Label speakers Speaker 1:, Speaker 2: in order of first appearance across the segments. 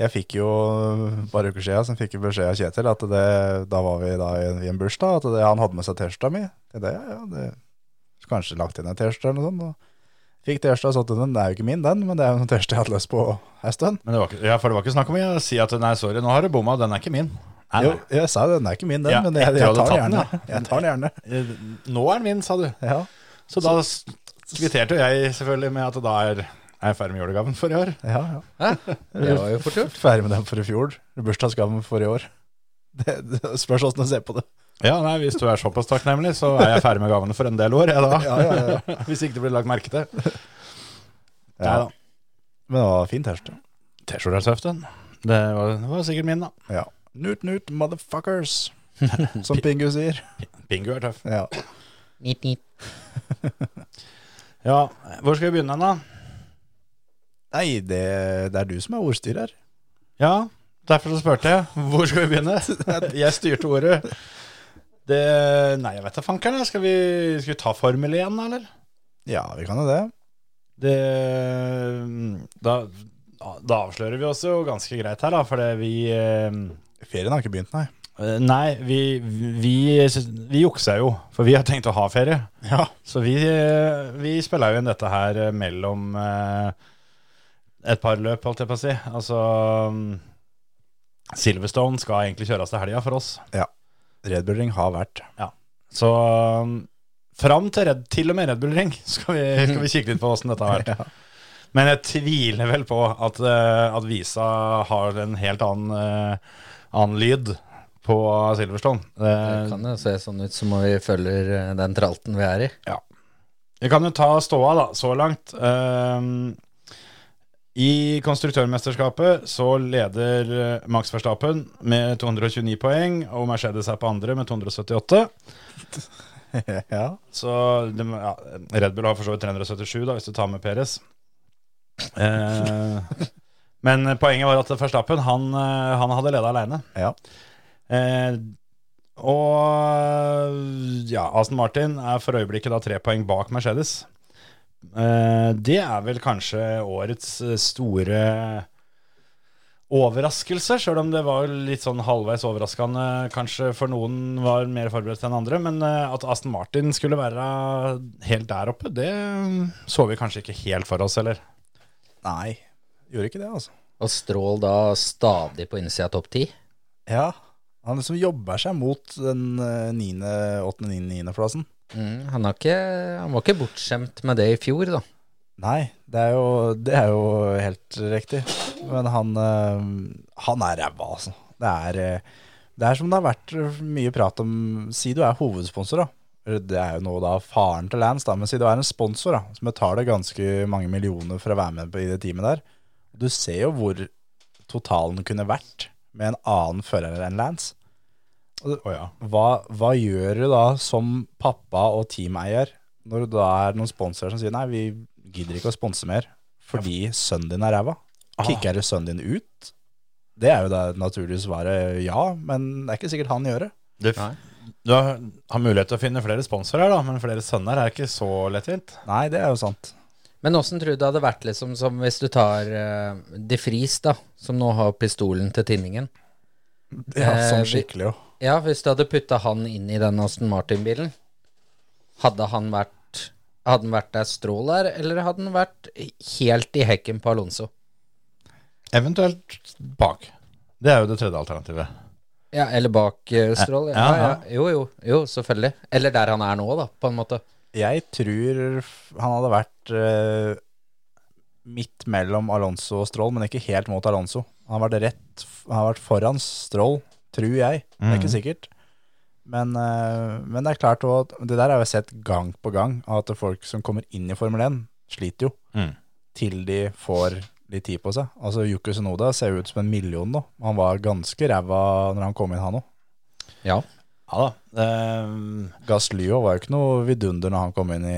Speaker 1: Jeg fikk jo eh, et par uker siden så fikk jeg beskjed av Kjetil at det, da var vi da i en, i en bursdag, at det, han hadde med seg T-skjorta mi. Det, det, ja, det, så kanskje lagt inn en T-skjorte eller noe sånt. Og fikk T-skjorta og satt den. Det er jo ikke min, den, men det er jo en T-skjorte jeg hadde lyst på en stund.
Speaker 2: Men det var ikke, ja, for det var ikke snakk om å si at nei, sorry, nå har du bomma, den er ikke min. Nei,
Speaker 1: Jo,
Speaker 2: nei.
Speaker 1: jeg sa jo den er ikke min, den,
Speaker 2: Ja,
Speaker 1: men jeg,
Speaker 2: etter
Speaker 1: jeg
Speaker 2: du hadde
Speaker 1: tar den
Speaker 2: tatt den,
Speaker 1: gjerne. Jeg tar den gjerne.
Speaker 2: Eh, Nå er den min, sa du.
Speaker 1: Ja.
Speaker 2: Så da s- kvitterte jo jeg selvfølgelig med at da er er jeg ferdig med julegaven for i år.
Speaker 1: Ja, ja.
Speaker 3: Hæ? Det var jo fort gjort.
Speaker 1: Ferdig med den for i fjor. Bursdagsgaven for i år. Det, det spørs åssen du ser på det.
Speaker 2: Ja, nei, Hvis du er såpass takknemlig, så er jeg ferdig med gavene for en del år. Jeg, da.
Speaker 1: ja,
Speaker 2: Hvis ikke det blir lagt merke til.
Speaker 1: Ja.
Speaker 2: Neida.
Speaker 1: Men det var fin T-skjorte.
Speaker 2: T-skjorta er søt, den. Det var, det var sikkert min, da.
Speaker 1: Ja. Nut, nut, motherfuckers, som Pingu sier.
Speaker 2: Bingo er tøff.
Speaker 1: Ja.
Speaker 3: Nit, nit.
Speaker 2: Ja, Hvor skal vi begynne, da?
Speaker 1: Nei, det, det er du som er ordstyrer.
Speaker 2: Ja, derfor så spurte jeg. Hvor skal vi begynne? Jeg styrte ordet. Det Nei, jeg vet da fankeren. jeg. Skal, vi- skal vi ta Formel 1, da, eller?
Speaker 1: Ja, vi kan jo det.
Speaker 2: Det Da, da avslører vi oss jo ganske greit her, da, fordi vi eh,
Speaker 1: Ferien har ikke begynt, nei.
Speaker 2: Eh, Nei, vi, vi, vi juksa jo, for vi har tenkt å ha ferie.
Speaker 1: Ja.
Speaker 2: Så vi, eh, vi spiller jo inn dette her eh, mellom eh, et par løp, holdt jeg på å si. Altså mm, Silverstone skal egentlig kjøres til helga for oss.
Speaker 1: Red Bull Ring har vært.
Speaker 2: Så mm, fram til, Red, til og med Red Bull Ring skal vi, skal vi kikke litt på åssen dette har vært. Men jeg tviler vel på at, eh, at visa har en helt annen, eh, annen lyd på Silverstone.
Speaker 3: Det
Speaker 2: Eh,
Speaker 3: kan jo se sånn ut som om vi følger eh, den tralten vi er i.
Speaker 2: Vi kan jo ta ståa da, så langt. Ehm, I konstruktørmesterskapet så leder eh, Max Verstappen med 229 poeng, og Mercedes er på andre med 278.
Speaker 1: ja.
Speaker 2: Så det, må- ja, Red Bull har for så vidt 377, da, hvis du tar med Peres. Eh, men poenget var at Verstappen han, eh, han hadde leda aleine.
Speaker 1: Ja.
Speaker 2: Eh, og ja, Aston Martin er for øyeblikket da tre poeng bak Mercedes. Eh, det er vel kanskje årets eh, store overraskelse, sjøl om det var litt sånn halvveis overraskende kanskje for noen var mer forberedt enn andre. Men eh, at Aston Martin skulle være helt der oppe, det mm, så vi kanskje ikke helt for oss, eller?
Speaker 1: Nei, gjorde ikke det, altså.
Speaker 3: Og Strål da stadig på innsida av topp ti.
Speaker 1: Ja. Han liksom jobber seg mot den eh, niende, åttende, niende, niendeplassen.
Speaker 3: Mm, han, har ikke, han var ikke bortskjemt med det i fjor, da.
Speaker 1: Nei, det er, jo, det er jo helt riktig. Men han, eh, han er ræva, altså. Det er, eh, det er som det har vært mye prat om Si du er hovedsponsor, da. Eller Det er jo nå da faren til Lance, da. Men si du er en sponsor da, som betaler ganske mange millioner for å være med på, i det teamet der. Du ser jo hvor totalen kunne vært med en annen fører enn Lance.
Speaker 2: Å ja.
Speaker 1: Hva, hva gjør du da som pappa og teameier når det da er noen sponsorer som sier nei, vi gidder ikke å sponse mer fordi sønnen din er ræva? Kicker du sønnen din ut? Det er jo det naturlige svaret eh, ja, men det er ikke sikkert han gjør det.
Speaker 2: Du,
Speaker 3: Nei.
Speaker 2: du har, har mulighet til å finne flere sponsorer, da, men flere sønner er ikke så lettvint.
Speaker 1: Nei, det er jo sant.
Speaker 3: Men åssen tror du det hadde vært liksom som hvis du tar eh, De Vries, da, som nå har pistolen til tinningen?
Speaker 1: Ja,
Speaker 3: Eh,
Speaker 1: sånn
Speaker 3: vi-
Speaker 1: skikkelig jo.
Speaker 3: Ja, hvis du hadde putta han inn i den Aston Martin-bilen, hadde han vært Hadde han vært der strål der, eller hadde han vært helt i hekken på Alonso?
Speaker 2: Eventuelt bak. Det er jo det tredje alternativet.
Speaker 3: Ja, eller bak eh, strål? Ja,
Speaker 2: Ja,
Speaker 3: ja,
Speaker 2: ja.
Speaker 3: Jo, jo, jo, selvfølgelig. Eller der han er nå, da, på en måte.
Speaker 1: Jeg tror f- han hadde vært eh, midt mellom Alonso og Stroll, men ikke helt mot Alonso. Han har vært rett f- Han har vært foran Stroll, tror jeg. Det er
Speaker 2: Mm.
Speaker 1: ikke sikkert. Men, eh, men det er klart også at Det der har jeg sett gang på gang, at folk som kommer inn i Formel 1, sliter jo
Speaker 2: Mm.
Speaker 1: til de får litt tid på seg. Altså Yuki Sunoda ser jo ut som en million nå. Han var ganske ræva når han kom inn, han òg.
Speaker 3: Ja.
Speaker 2: Ja da. Ehm,
Speaker 1: Gasslyo var jo ikke noe vidunder når han kom inn i,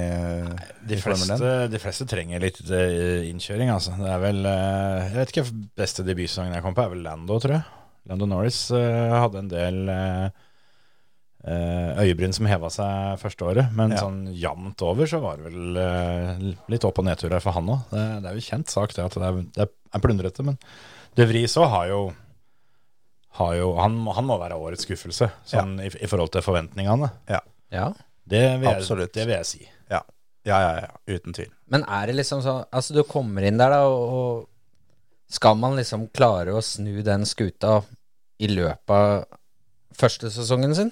Speaker 2: de,
Speaker 1: i Formel 1.
Speaker 2: fleste, de fleste trenger litt eh, innkjøring, altså. Det er vel eh, Jeg vet ikke, beste debutsesongen jeg kom på, er vel Lando, tror jeg. Lando Norris eh, hadde en del eh, eh, øyebryn som heva seg første året, men
Speaker 1: Ja.
Speaker 2: sånn jevnt over så var det vel eh, litt opp- og nedturer for han òg. Det, det er jo kjent sak, det at det er, det er plundrete, men De Vries òg har jo har jo, han, må- han må være årets skuffelse sånn, i, i forhold til forventningene.
Speaker 3: ja.
Speaker 2: Det vil jeg,
Speaker 1: Absolutt.
Speaker 2: Det vil jeg si.
Speaker 1: Ja, ja, ja, uten tvil.
Speaker 3: Men er det liksom sånn Altså, du kommer inn der, da, og og skal man liksom klare å snu den skuta i løpet av første sesongen sin?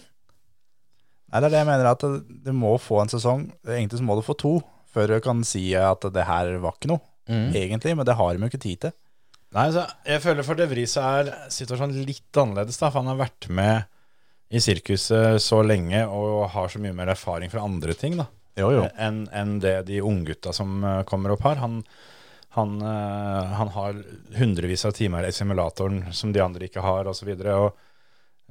Speaker 1: Nei, det er det jeg mener, at det- du må få en sesong. Egentlig så må du få to før du kan si at det her var ikke noe,
Speaker 3: Mm.
Speaker 1: egentlig. Men det har de jo ikke tid til.
Speaker 2: Nei, så jeg føler for De Vries er situasjonen litt annerledes, da, for han har vært med i sirkuset så lenge og har så mye mer erfaring fra andre ting da,
Speaker 1: Jo, jo.
Speaker 2: enn enn det de unggutta som eh, kommer opp her. Han, han, eh, han har hundrevis av timer i simulatoren som de andre ikke har, osv. Og, så videre, og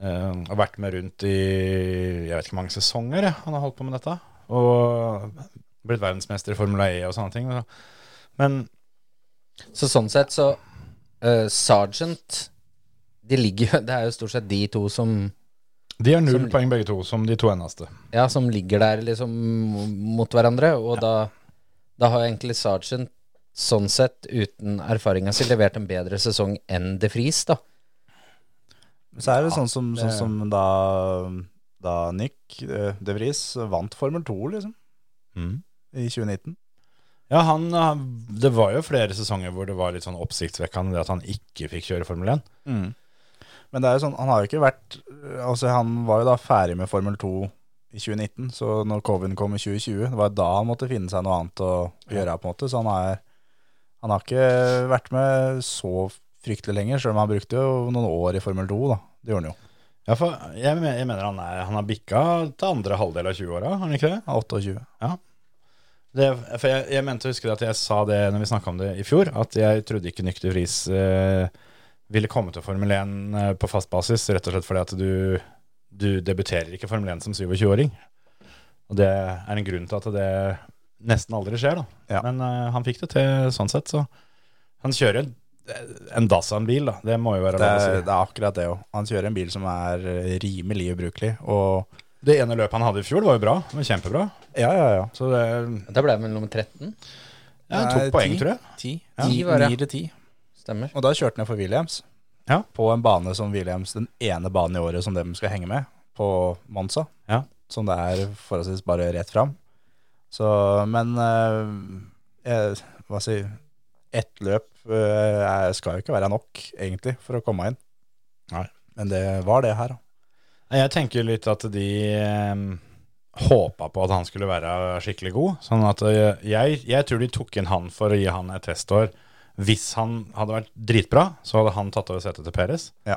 Speaker 2: eh, har vært med rundt i jeg vet ikke hvor mange sesonger jeg, han har holdt på med dette. Og blitt verdensmester i Formula E og sånne ting. Men
Speaker 3: Så sånn sett så eh, Sergeant De ligger jo Det er jo stort sett de to som
Speaker 2: De har null
Speaker 3: Som-
Speaker 2: poeng begge to, som de to eneste.
Speaker 3: Ja, som ligger der liksom mot hverandre Og da Da har egentlig Sergeant Sånn sett uten erfaringa si Levert en bedre sesong enn De Vries da
Speaker 1: Men så er det sånn som, sånn som da, da Nick eh, De Vries vant Formel 2, liksom, i 2019.
Speaker 2: Ja, han, han- Det var jo flere sesonger hvor det var litt sånn oppsiktsvekkende det at han ikke fikk kjøre Formel 1.
Speaker 1: Men det er jo sånn, han har jo ikke vært Altså, han var jo da ferdig med Formel 2 i 2019, så når Coven kom i 2020, det var da han måtte finne seg noe annet å gjøre, på en måte. Så han er Han har ikke vært med så fryktelig lenger, selv om han brukte jo noen år i Formel 2, da. Det gjorde han jo.
Speaker 2: Ja, for jeg, me- jeg mener han, er, han har bikka til andre halvdel av 20-åra, har han ikke det?
Speaker 1: Han er 28.
Speaker 2: det for jeg, jeg mente å huske det at jeg sa det når vi snakka om det i fjor, at jeg trodde ikke Nyk de Vries eh, ville komme til Formel 1 eh, på fast basis, rett og slett fordi at du, du debuterer ikke Formel 1 som 27-åring. Og det er en grunn til at det nesten aldri skjer, da.
Speaker 1: Ja.
Speaker 2: Men eh, han fikk det til sånn sett, så han kjører en, en Dasan-bil, da. Det må jo være
Speaker 1: Det
Speaker 2: lov å
Speaker 1: er,
Speaker 2: si.
Speaker 1: det er akkurat det òg. Han kjører en bil som er eh, rimelig ubrukelig. Og
Speaker 2: Det ene løpet han hadde i fjor, var jo bra. Det var kjempebra.
Speaker 1: ja, ja, ja.
Speaker 2: Så det
Speaker 3: Da ble jeg vel nummer 13.
Speaker 2: ja,
Speaker 1: Det
Speaker 2: tok
Speaker 1: er
Speaker 2: poeng,
Speaker 1: ti.
Speaker 2: tror jeg.
Speaker 1: Ti.
Speaker 3: Ja.
Speaker 1: Ti var det. Ni til ti.
Speaker 3: Stemmer.
Speaker 1: Og da kjørte han jo for Williams.
Speaker 2: Ja.
Speaker 1: På en bane som Williams, den ene banen i året som de skal henge med, på Monza.
Speaker 2: Ja.
Speaker 1: Som det er forholdsvis bare rett fram. Så, men eh, eh, hva si Ett løp eh, er- skal jo ikke være nok, egentlig, for å komme inn.
Speaker 2: Nei.
Speaker 1: Men det var det her, da.
Speaker 2: Nei, Jeg tenker litt at de eh, håpa på at han skulle være skikkelig god. Sånn at eh, jeg, jeg tror de tok inn han for å gi han et testår. Hvis han hadde vært dritbra, så hadde han tatt over setet til Peres.
Speaker 1: Ja.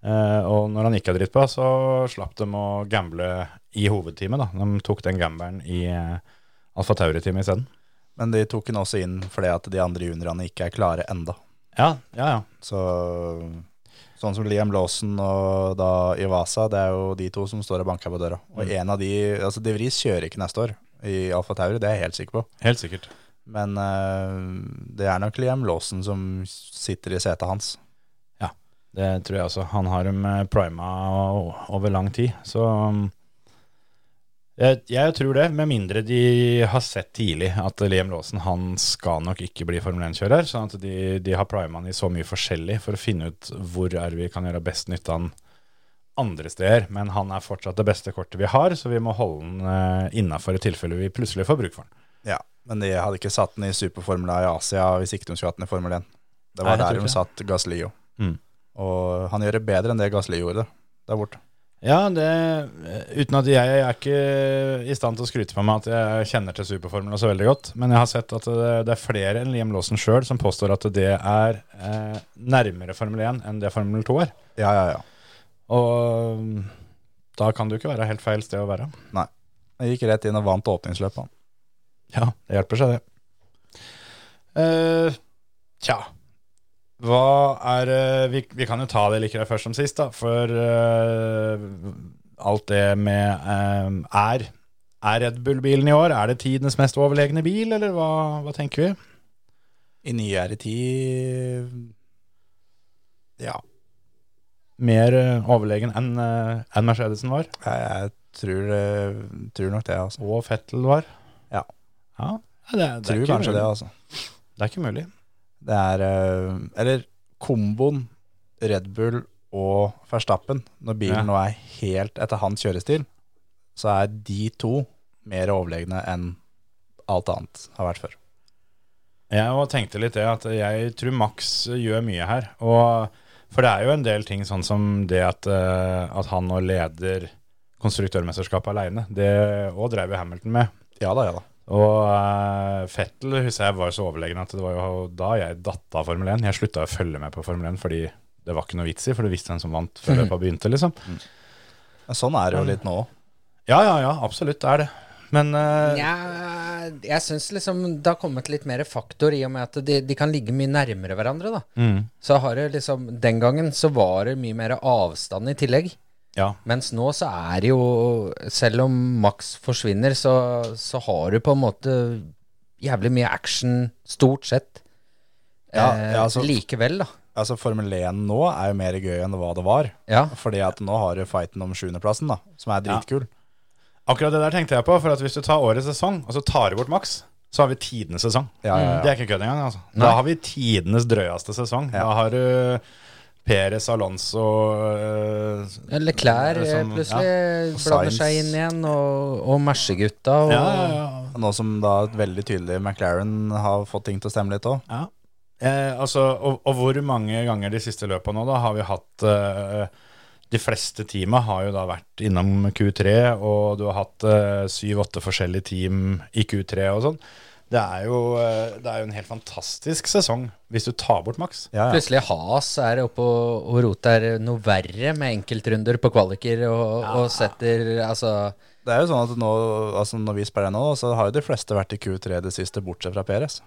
Speaker 2: Eh, og når han ikke er dritbra, så slapp de å gamble i hovedteamet. da. De tok den gambelen i eh, Alfa Tauri-teamet isteden.
Speaker 1: Men de tok han også inn fordi at de andre juniorene ikke er klare enda.
Speaker 2: Ja, ja, ja.
Speaker 1: Så sånn som Liam Lawson og da Iwasa, det er jo de to som står og banker på døra. Og
Speaker 2: Mm.
Speaker 1: en av de, altså De Vries kjører ikke neste år i Alfa Tauri, det er jeg helt sikker på.
Speaker 2: Helt sikkert.
Speaker 1: Men eh, det er nok Liam Lawson som sitter i setet hans.
Speaker 2: Det tror jeg også. Han har dem eh, prima o- over lang tid. Så um, jeg, jeg tror det, med mindre de har sett tidlig at Liam Laasen han skal nok ikke bli Formel 1-kjører. Sånn at de, de har prima han i så mye forskjellig for å finne ut hvor er vi kan gjøre best nytte av han andre steder. Men han er fortsatt det beste kortet vi har, så vi må holde han innafor i tilfelle vi plutselig får bruk for han.
Speaker 1: Ja, Men de hadde ikke satt den i superformula i Asia hvis ikke de skulle hatt den i Formel 1. Det var
Speaker 2: Nei, jeg tror
Speaker 1: der
Speaker 2: ikke
Speaker 1: de satt Gaslio.
Speaker 2: Mm.
Speaker 1: Og han gjør det bedre enn det Gaslio gjorde der borte.
Speaker 2: Ja, det, eh, uten at jeg, jeg er ikke i stand til å skryte på meg at jeg kjenner til superformelen så veldig godt, men jeg har sett at det, det er flere enn Liam Lawson sjøl som påstår at det er eh, nærmere Formel 1 enn det Formel 2 er.
Speaker 1: Ja, ja, ja.
Speaker 2: Og mm, da kan det jo ikke være helt feil sted å være.
Speaker 1: Han gikk rett inn og vant åpningsløpet. han.
Speaker 2: Ja, det hjelper seg, det. Eh, tja. Hva er eh, vi, vi kan jo ta det like greit først som sist, da. For eh, alt det med eh, Er er Red Bull-bilen i år er det tidenes mest overlegne bil, eller hva, hva tenker vi?
Speaker 1: I nyere tid Ja,
Speaker 2: Mer eh, overlegen enn eh, enn Mercedesen var,
Speaker 1: jeg, jeg tror, det- tror nok det, altså.
Speaker 2: og Fettel var.
Speaker 1: Ja.
Speaker 2: ja ja, det, det, er
Speaker 1: Tror
Speaker 2: ikke
Speaker 1: kanskje
Speaker 2: mulig.
Speaker 1: det, altså.
Speaker 2: det er ikke mulig.
Speaker 1: Det er eh, Eller komboen Red Bull og Verstappen, når bilen
Speaker 2: Ja.
Speaker 1: nå er helt etter hans kjørestil, så er de to mer overlegne enn alt annet har vært før.
Speaker 2: Jeg også tenkte litt det, at jeg tror Max gjør mye her. Og, for det er jo en del ting sånn som det at, eh, at han nå leder konstruktørmesterskapet aleine. Det òg drev jo Hamilton med.
Speaker 1: Ja da, ja da.
Speaker 2: Og eh, Fettel husker jeg var så overlegen at det var jo da jeg datt av Formel 1. Jeg slutta å følge med på Formel 1 fordi det var ikke noe vits i, for du visste hvem som vant før løpet begynte, liksom.
Speaker 1: Mm. Men sånn er det jo litt nå òg.
Speaker 2: Ja, ja, ja, absolutt det er det. Men eh,
Speaker 3: Nja, jeg syns liksom det har kommet litt mer faktor i og med at de, de kan ligge mye nærmere hverandre, da.
Speaker 2: mm,
Speaker 3: Så har det liksom Den gangen så var det mye mer avstand i tillegg.
Speaker 2: ja.
Speaker 3: Mens nå så er det jo Selv om Max forsvinner, så, så har du på en måte jævlig mye action, stort sett. Eh,
Speaker 1: Ja, ja, altså-
Speaker 3: likevel, da.
Speaker 1: Altså, Formel 1 nå er jo mer gøy enn hva det var.
Speaker 3: Ja.
Speaker 1: Fordi at nå har du fighten om sjuendeplassen, da, som er
Speaker 2: Ja.
Speaker 1: dritkul.
Speaker 2: Akkurat det der tenkte jeg på, for at hvis du tar årets sesong, og så tar du bort Max, så har vi tidenes sesong.
Speaker 1: Ja, ja, ja.
Speaker 2: Det er ikke kødd engang. Altså.
Speaker 3: Nei.
Speaker 2: Da har vi tidenes drøyeste sesong. Da har du Perez, Alonso eh,
Speaker 3: Eller klær eh,
Speaker 2: Som-
Speaker 3: plutselig
Speaker 1: Og
Speaker 3: blander
Speaker 1: Sainz.
Speaker 3: seg inn igjen, og, og Mercegutta. Og,
Speaker 2: ja, ja, ja.
Speaker 1: Nå som da et veldig tydelig McLaren har fått ting til å stemme litt òg.
Speaker 2: Ja. Eh, altså, og, og hvor mange ganger de siste løpene nå da har vi hatt eh, De fleste teama har jo da vært innom Q3, og du har hatt syv-åtte forskjellige team i Q3 og sånn. Det er, jo, eh, det er jo en helt fantastisk sesong hvis du tar bort Max.
Speaker 1: Ja, ja.
Speaker 3: Plutselig Has er oppe og, og roter noe verre med enkeltrunder på kvaliker og, og setter Altså
Speaker 1: Det er jo sånn at nå, altså når vi spiller nå, så har jo de fleste vært i Q3 det siste, bortsett fra Perez.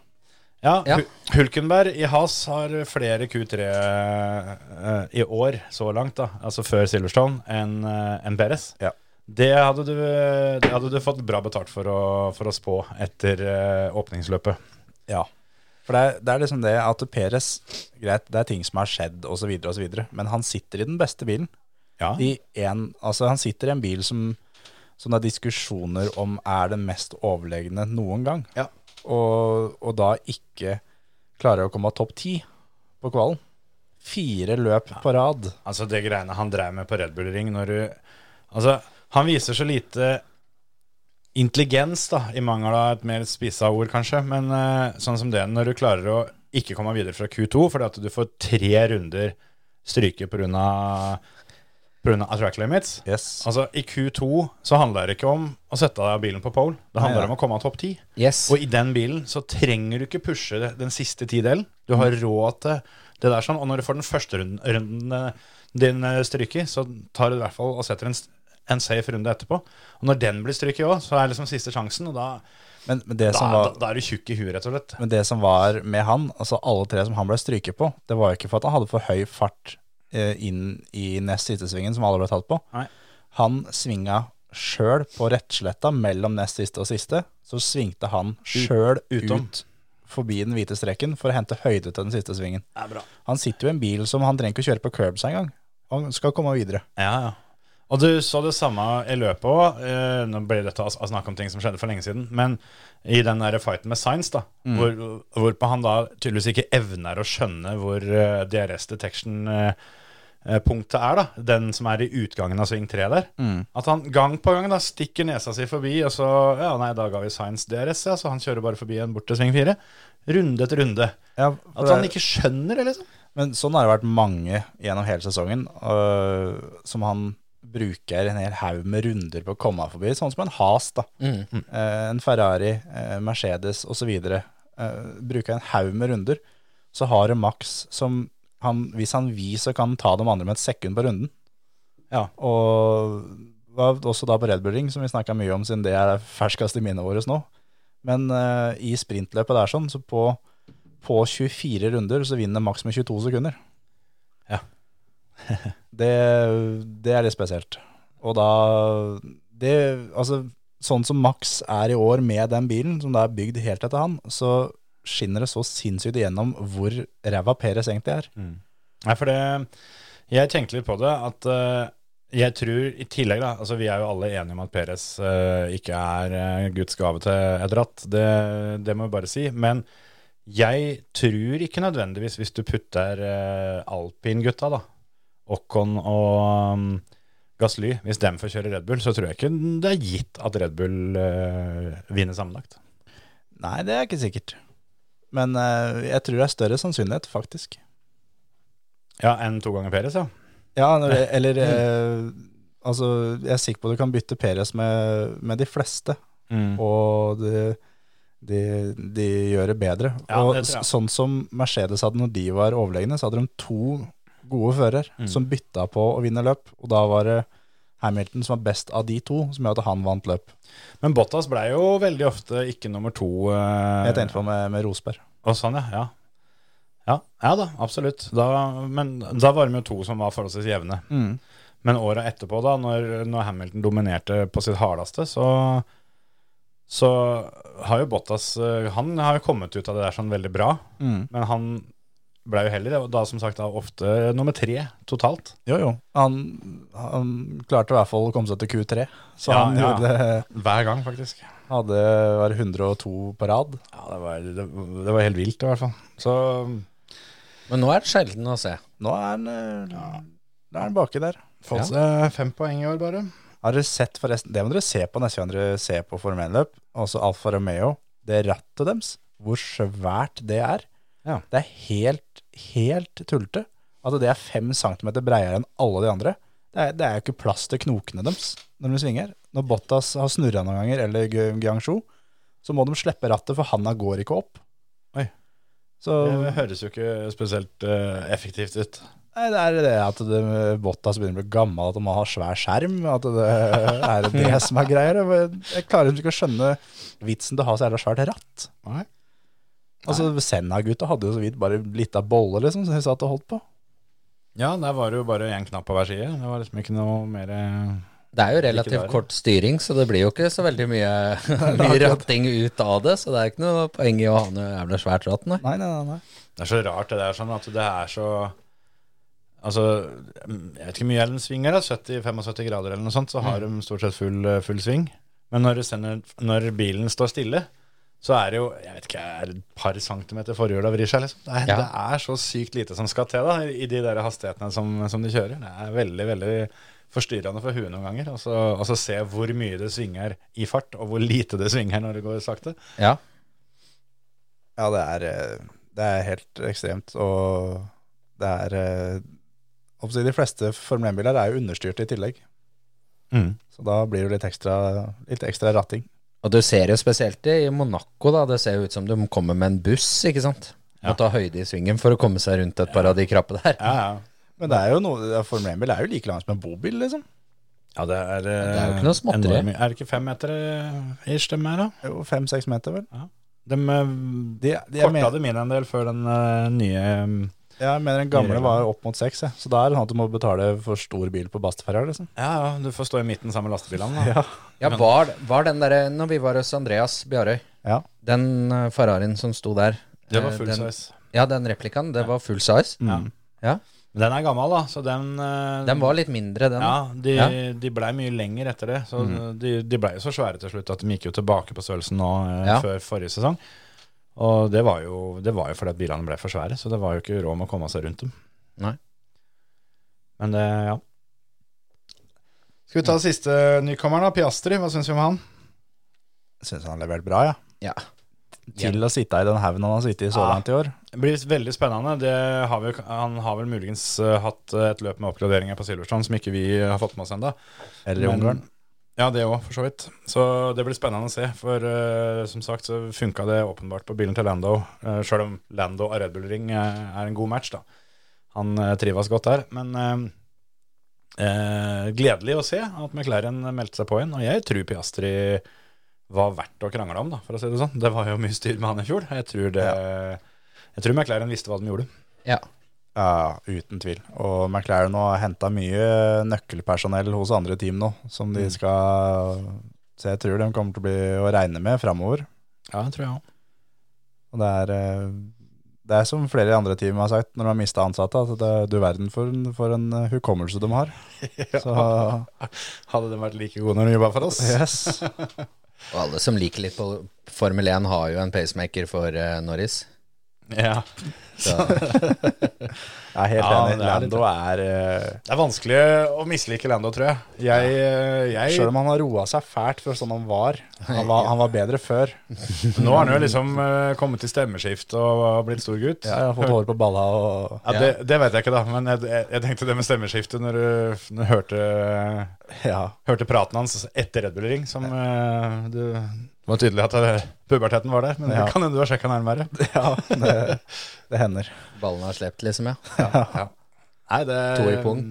Speaker 2: Ja,
Speaker 3: Ja.
Speaker 2: Hu- Hulkenberg i Haas har flere Q3 eh, i år så langt, da, altså før Silverstone, enn eh, enn Perez.
Speaker 1: Ja.
Speaker 2: Det, hadde du, det hadde du fått bra betalt for å, for å spå etter eh, åpningsløpet.
Speaker 1: Ja. For det er, det er liksom det at Perez Greit, det er ting som har skjedd, osv., osv., men han sitter i den beste bilen.
Speaker 2: Ja.
Speaker 1: I en, altså han sitter i en bil som, som det er diskusjoner om er den mest overlegne noen gang.
Speaker 2: Ja.
Speaker 1: Og, og da ikke klarer å komme topp ti på kvalen. Fire løp på rad.
Speaker 2: Altså det greiene han drev med på Red Bull Ring når du Altså, han viser så lite intelligens, da, i mangel av et mer spissa ord, kanskje, men eh, sånn som det, når du klarer å ikke komme videre fra Q2 fordi at du får tre runder stryke pga. track limits.
Speaker 1: Yes.
Speaker 2: Altså, i Q2 så handler det ikke om å sette deg av bilen på pole, det handler
Speaker 1: Nei, ja.
Speaker 2: om å komme av topp ti.
Speaker 3: Yes.
Speaker 2: Og i den bilen så trenger du ikke pushe den siste tidelen. Du har
Speaker 1: Mm.
Speaker 2: råd til det der sånn. Og når du får den første runden, runden eh, din eh, stryker, så tar du i hvert fall og setter en, s- en safe runde etterpå. Og når den blir stryket òg, så er liksom siste sjansen, og da,
Speaker 1: Men, men, det
Speaker 2: da,
Speaker 1: som
Speaker 2: da,
Speaker 1: var,
Speaker 2: da er du tjukk i huet, rett og slett.
Speaker 1: men det som var med han, altså alle tre som han ble stryket på, det var jo ikke for at han hadde for høy fart eh, inn i nest siste svingen, som alle ble tatt på.
Speaker 2: Nei.
Speaker 1: Han svinga sjøl på rettsletta mellom nest siste og siste. Så svingte han sjøl
Speaker 2: utom.
Speaker 1: ut forbi den hvite streken for å hente høyde til den siste svingen.
Speaker 2: Det er bra.
Speaker 1: Han sitter jo i en bil som han trenger ikke å kjøre på curbs engang. Han skal komme videre.
Speaker 2: Ja, ja. Og du så det samme i løpet òg. Eh, nå ble dette å snakke om ting som skjedde for lenge siden. Men i den der fighten med Science, da,
Speaker 1: Mm.
Speaker 2: hvor, hvorpå han da tydeligvis ikke evner å skjønne hvor eh, DRS detection-punktet eh, er, da. Den som er i utgangen av sving 3 der.
Speaker 1: Mm.
Speaker 2: At han gang på gang da stikker nesa si forbi, og så Ja, nei, da ga vi Science DRS, ja, så han kjører bare forbi en bort til sving 4. Runde etter runde.
Speaker 1: Ja, for
Speaker 2: At han
Speaker 1: det-
Speaker 2: ikke skjønner det, liksom.
Speaker 1: Men sånn har det vært mange gjennom hele sesongen, øh, som han bruker en hel haug med runder på å komme av forbi, sånn som en Has, da. Eh, en Ferrari, eh, Mercedes osv. Eh, bruker en haug med runder. Så har det Max som han, Hvis han vil, så kan han ta de andre med et sekund på runden.
Speaker 2: Ja.
Speaker 1: Og var også da på Red Bull Ring, som vi snakka mye om siden det er ferskast i minnet vårt nå. Men eh, i sprintløpet der sånn, så på, på 24 runder så vinner Max med 22 sekunder.
Speaker 2: Ja.
Speaker 1: det, det er litt spesielt. Og da det, Altså, sånn som Max er i år med den bilen, som da er bygd helt etter han, så skinner det så sinnssykt igjennom hvor ræva Peres egentlig er.
Speaker 2: Mm. Nei, for det Jeg tenkte litt på det at eh, jeg tror i tillegg da, altså vi er jo alle enige om at Peres ikke er eh, Guds gave til et ratt, det, det må vi bare si, men jeg tror ikke nødvendigvis hvis du putter uh, Alpin-gutta da, Ocon og um, Gasly, hvis dem får kjøre Red Bull, så tror jeg ikke det er gitt at Red Bull eh, vinner sammenlagt.
Speaker 1: Nei, det er ikke sikkert. Men eh, jeg tror det er større sannsynlighet, faktisk.
Speaker 2: Ja, enn to ganger Peres, ja.
Speaker 1: Ja, når det- eller eh, Altså, jeg er sikker på du kan bytte Peres med, med de fleste,
Speaker 2: Mm.
Speaker 1: og de, de, de gjør det bedre.
Speaker 2: Ja,
Speaker 1: og
Speaker 2: det tror jeg.
Speaker 1: s- sånn som Mercedes hadde når de var overlegne, så hadde de to gode fører
Speaker 2: Mm.
Speaker 1: som bytta på å vinne løp, og da var det Hamilton som var best av de to, som gjorde at han vant løp.
Speaker 2: Men Bottas ble jo veldig ofte ikke nummer to. eh,
Speaker 1: Jeg tenkte på med, med Rosberg.
Speaker 2: Og sånn, ja. Ja, ja, ja da, absolutt. Da, men da var det jo to som var forholdsvis jevne. Men åra etterpå, da, når, når Hamilton dominerte på sitt hardeste, så, så har jo Bottas eh, Han har jo kommet ut av det der sånn veldig bra, men han ble jo heller da som sagt da ofte nummer tre totalt.
Speaker 1: Jo, jo. Han, han klarte i hvert fall å komme seg til Q3, så
Speaker 2: Ja,
Speaker 1: han
Speaker 2: ja.
Speaker 1: gjorde,
Speaker 2: Hver gang, faktisk.
Speaker 1: hadde var det 102 på rad.
Speaker 2: Ja, det var, det, det var helt vilt, i hvert fall. Så
Speaker 3: Men nå er det sjelden å se.
Speaker 1: Nå er han eh, Da er han baki der.
Speaker 3: Ja.
Speaker 2: Fått seg Eh, fem poeng i år, bare.
Speaker 1: Har dere sett forresten Det må dere se på neste gang dere ser på Formel 1-løp. Også Alfa Romeo. Det rattet deres, hvor svært det er.
Speaker 2: Ja.
Speaker 1: Det er helt, helt tullete. At det er fem centimeter breiere enn alle de andre. Det er, det er jo ikke plass til knokene deres når de svinger. Når Bottas har snurra noen ganger, eller Gu- Guangzhou, så må de slippe rattet, for handa går ikke opp.
Speaker 2: Oi.
Speaker 1: Så
Speaker 2: Det høres jo ikke spesielt eh, effektivt ut.
Speaker 1: Nei, det er det at det, Bottas begynner å bli gammel, at han må ha svær skjerm. At det er det som er greia. Jeg klarer liksom ikke å skjønne vitsen til å ha så jævla svært ratt.
Speaker 2: Nei.
Speaker 1: Altså, Senna-gutta hadde jo så vidt bare lita bolle, liksom, som de satt og holdt på.
Speaker 2: Ja, der var det jo bare én knapp på hver side. Det var liksom ikke noe mer eh,
Speaker 3: Det er jo
Speaker 2: Ikke der.
Speaker 3: relativt kort styring, så det blir jo ikke så veldig mye, mye
Speaker 1: akkurat.
Speaker 3: ratting ut av det. Så det er ikke noe poeng i å ha noe jævla svært ratt, nei.
Speaker 1: Nei, nei, nei. nei.
Speaker 2: Det er så rart det der, sånn at det er så Altså, jeg vet ikke hvor mye den svinger, da, 70-75 grader eller noe sånt, så har de stort sett full, eh, full sving. Men når, du sender, når bilen står stille, så er det jo jeg vet ikke, er det et par centimeter forhjula vrir seg. liksom. Det er,
Speaker 3: Ja.
Speaker 2: det er så sykt lite som skal til da, i de der hastighetene som, som de kjører. Det er veldig veldig forstyrrende for huet noen ganger. Og så, og så se hvor mye det svinger i fart, og hvor lite det svinger når det går sakte.
Speaker 3: Ja.
Speaker 1: Ja, det er, eh, det er helt ekstremt. Og det er eh, oppsett, De fleste Formel 1-biler er jo understyrte i tillegg.
Speaker 2: Mm.
Speaker 1: Så da blir det litt ekstra, litt ekstra ratting.
Speaker 3: Og du ser jo spesielt i Monaco, da. Det ser jo ut som de kommer med en buss, ikke sant.
Speaker 2: Ja.
Speaker 3: Må ta høyde i svingen for å komme seg rundt et par av de krappe der.
Speaker 2: Ja, ja.
Speaker 1: Men det er jo noe, Formel 1-bil er jo like lang som en bobil, liksom.
Speaker 2: Ja, det er,
Speaker 3: det er jo ikke noe småtteri.
Speaker 2: Eh, enormt mye. Er det ikke fem meter eh, ish de er, da?
Speaker 1: Det er Jo, Fem-seks meter, vel.
Speaker 2: De, eh,
Speaker 1: De, de, jeg,
Speaker 2: korta
Speaker 1: mener,
Speaker 2: det min en del før den eh, nye eh,
Speaker 1: jeg mener den gamle var opp mot seks, jeg. så da er det sånn at du må betale for stor bil på Bastferja, liksom.
Speaker 2: Ja, ja, du får stå i midten sammen med lastebilene. Da.
Speaker 1: Ja.
Speaker 3: Ja, var, var den derre Når vi var hos Andreas Bjarøy,
Speaker 1: Ja.
Speaker 3: den eh, Ferrarien som sto der
Speaker 2: Det var
Speaker 3: eh,
Speaker 2: full
Speaker 3: den,
Speaker 2: size.
Speaker 3: Ja, den replikaen, det var full size.
Speaker 2: Ja. Mm.
Speaker 3: Ja.
Speaker 2: Men den er gammel, da, så den eh,
Speaker 3: Den var litt mindre, den.
Speaker 2: ja, de,
Speaker 3: Ja.
Speaker 2: de blei mye lenger etter det. Så De, de blei jo så svære til slutt at de gikk jo tilbake på størrelsen nå eh,
Speaker 3: Ja.
Speaker 2: før forrige sesong. Og det var, jo, det var jo fordi at bilene ble for svære, så det var jo ikke råd med å komme seg rundt dem.
Speaker 3: Nei.
Speaker 2: Men det, ja. Skal vi ta siste nykommeren, da? Piastri. Hva syns vi om han?
Speaker 1: Syns han har levert bra, ja.
Speaker 3: Ja.
Speaker 1: Til å sitte i den haugen han har sittet i så
Speaker 2: Ja.
Speaker 1: langt i år.
Speaker 2: Det blir veldig spennende. Det har vi, han har vel muligens eh, hatt eh, et løp med oppgraderinger på Silverstrand som ikke vi har fått med oss ennå.
Speaker 1: Eller i
Speaker 2: Men-
Speaker 1: Ungarn.
Speaker 2: Ja, det òg, for så vidt. Så det blir spennende å se. For eh, som sagt så funka det åpenbart på bilen til Lando. Uh, Sjøl om Lando av Red Bull Ring eh, er en god match, da. Han eh, trives godt der. Men eh, eh, gledelig å se at McLaren meldte seg på igjen. Og jeg tror Piastri var verdt å krangle om, da, for å si det sånn. Det var jo mye styr med han i fjor. Jeg tror, det, jeg tror McLaren visste hva de gjorde.
Speaker 3: Ja.
Speaker 1: Ja, uten tvil. Og McLaren nå har henta mye nøkkelpersonell hos andre team nå, som
Speaker 2: Mm.
Speaker 1: de skal Så jeg tror de kommer til å bli å regne med framover.
Speaker 2: Ja, det tror jeg òg.
Speaker 1: Og det er eh, det er som flere andre team har sagt når de har mista ansatte, at det er du verden for, en- for en eh, hukommelse de har. Så
Speaker 2: Hadde de vært like gode når de jobba for oss?
Speaker 1: yes.
Speaker 3: Og alle som liker litt på Formel 1, har jo en pacemaker for eh, Norris.
Speaker 2: Ja.
Speaker 3: Så,
Speaker 1: Jeg er helt
Speaker 2: Ja,
Speaker 1: enig.
Speaker 2: det er litt-
Speaker 1: Lando er eh,
Speaker 2: Det er vanskelig å mislike Lando, tror jeg. Jeg, eh, jeg
Speaker 1: Selv om han har roa seg fælt fra sånn han var. Han var, han var bedre før.
Speaker 2: Nå har han jo liksom eh, kommet til stemmeskift og har blitt stor gutt.
Speaker 1: Ja, jeg har fått hår på balla og
Speaker 2: Ja, det, det vet jeg ikke, da, men jeg, jeg, jeg tenkte det med stemmeskiftet når du, når du hørte,
Speaker 1: Ja.
Speaker 2: hørte praten hans etter Red Bull Ring. Som, eh, du, det var tydelig at eh, puberteten var der, men
Speaker 1: Ja.
Speaker 2: det kan hende du har sjekka nærmere.
Speaker 1: ja det, det hender.
Speaker 3: ballen har slept, liksom, ja.
Speaker 2: Nei, det mm.
Speaker 3: To i pung.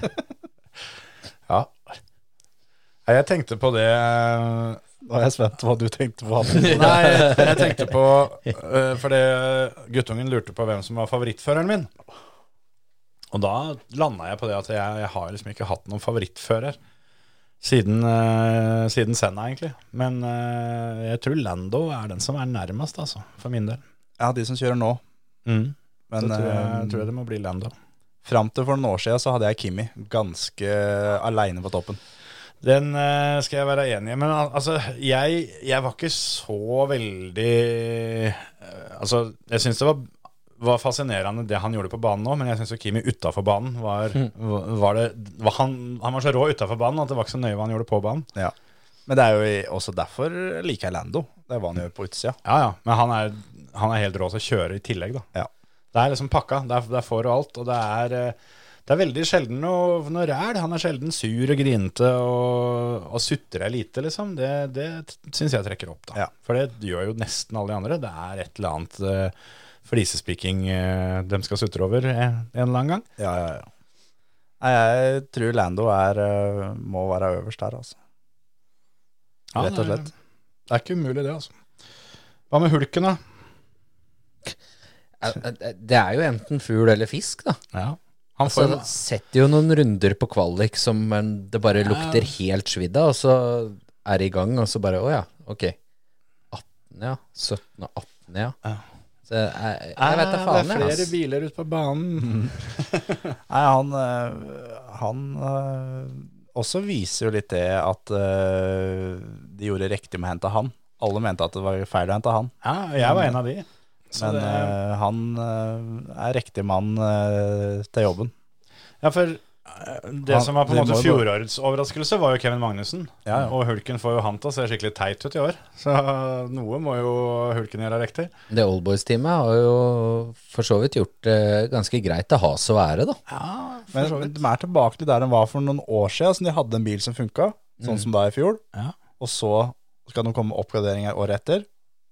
Speaker 2: ja. Nei, Jeg tenkte på det eh,
Speaker 1: Nå er jeg spent på hva du tenkte på. Anders.
Speaker 2: Nei, jeg, jeg tenkte på eh, Fordi guttungen lurte på hvem som var favorittføreren min. Og da landa jeg på det at jeg, jeg har liksom ikke hatt noen favorittfører siden, eh, siden Senna, egentlig. Men eh, jeg tror Lando er den som er nærmest, altså, for min del.
Speaker 1: Ja, de som kjører nå. Men
Speaker 2: Mm. Men, da tror jeg,
Speaker 1: eh,
Speaker 2: tror jeg det må bli Lando.
Speaker 1: fram til for noen år siden så hadde jeg Kimi ganske aleine på toppen.
Speaker 2: Den eh, skal jeg være enig i. Men al- altså, jeg, jeg var ikke så veldig eh, Altså, jeg syns det var, var fascinerende det han gjorde på banen nå, men jeg syns Kimi utafor banen var, var det var han, han var så rå utafor banen at det var ikke så nøye hva han gjorde på banen.
Speaker 1: Ja. Men det er jo i- også derfor liker jeg Lando. Det er hva han gjør på utsida.
Speaker 2: Ja, ja, Men han er, han er helt rå til å kjøre i tillegg, da.
Speaker 1: Ja.
Speaker 2: Det er liksom pakka. Det er, det er for og alt. Og det er, eh, det er veldig sjelden noe, noe ræl. Han er sjelden sur og grinete og, og sutrer lite, liksom. Det, det syns jeg trekker opp,
Speaker 1: Ja.
Speaker 2: da. For det gjør jo nesten alle de andre. Det er et eller annet eh, flisespikking eh, de skal sutre over eh, en eller annen gang.
Speaker 1: Ja, ja, ja. Nei, jeg tror Lando er, eh, må være øverst her, altså.
Speaker 2: Ja,
Speaker 1: Rett og
Speaker 2: det er-
Speaker 1: slett.
Speaker 2: Det er ikke umulig, det, altså. Hva med hulken, da?
Speaker 3: Eh, eh, Det er jo enten fugl eller fisk, da.
Speaker 2: Han får
Speaker 3: Altså,
Speaker 2: jo
Speaker 3: det setter jo noen runder på kvalik som en- det bare lukter helt svidd av, og så er det i gang, og så bare Å ja, ok. 18, ja. 17 og 18, ja.
Speaker 2: Ja.
Speaker 3: Så eh, jeg, jeg vet da
Speaker 2: Ah,
Speaker 3: faen,
Speaker 2: Det er
Speaker 3: jeg.
Speaker 2: flere
Speaker 3: ass.
Speaker 2: biler ute på banen.
Speaker 1: Nei, han, eh, han eh, også viser jo litt det at eh, de gjorde riktig med å hente han. Alle mente at det var feil å hente han,
Speaker 2: Ja, jeg var en av de. Så
Speaker 1: men
Speaker 2: det-
Speaker 1: eh, han eh, er riktig mann eh, til jobben.
Speaker 2: Ja, for eh, det
Speaker 1: Han-
Speaker 2: som var på en
Speaker 1: det må
Speaker 2: måte
Speaker 1: jo
Speaker 2: fjorårets overraskelse, var jo Kevin Magnussen.
Speaker 1: Ja, ja.
Speaker 2: Og Hulken får jo han til å se skikkelig teit ut i år. Så noe må jo Hulken gjøre riktig.
Speaker 3: Det Oldboys-teamet har jo for så vidt gjort det ganske greit til has å være, da.
Speaker 2: Ja,
Speaker 1: Men de er tilbake til der de var for noen år siden, så de hadde en bil som funka, sånn som da i fjor.
Speaker 2: Mm. Ja.
Speaker 1: Og så skal de komme med oppgraderinger året etter,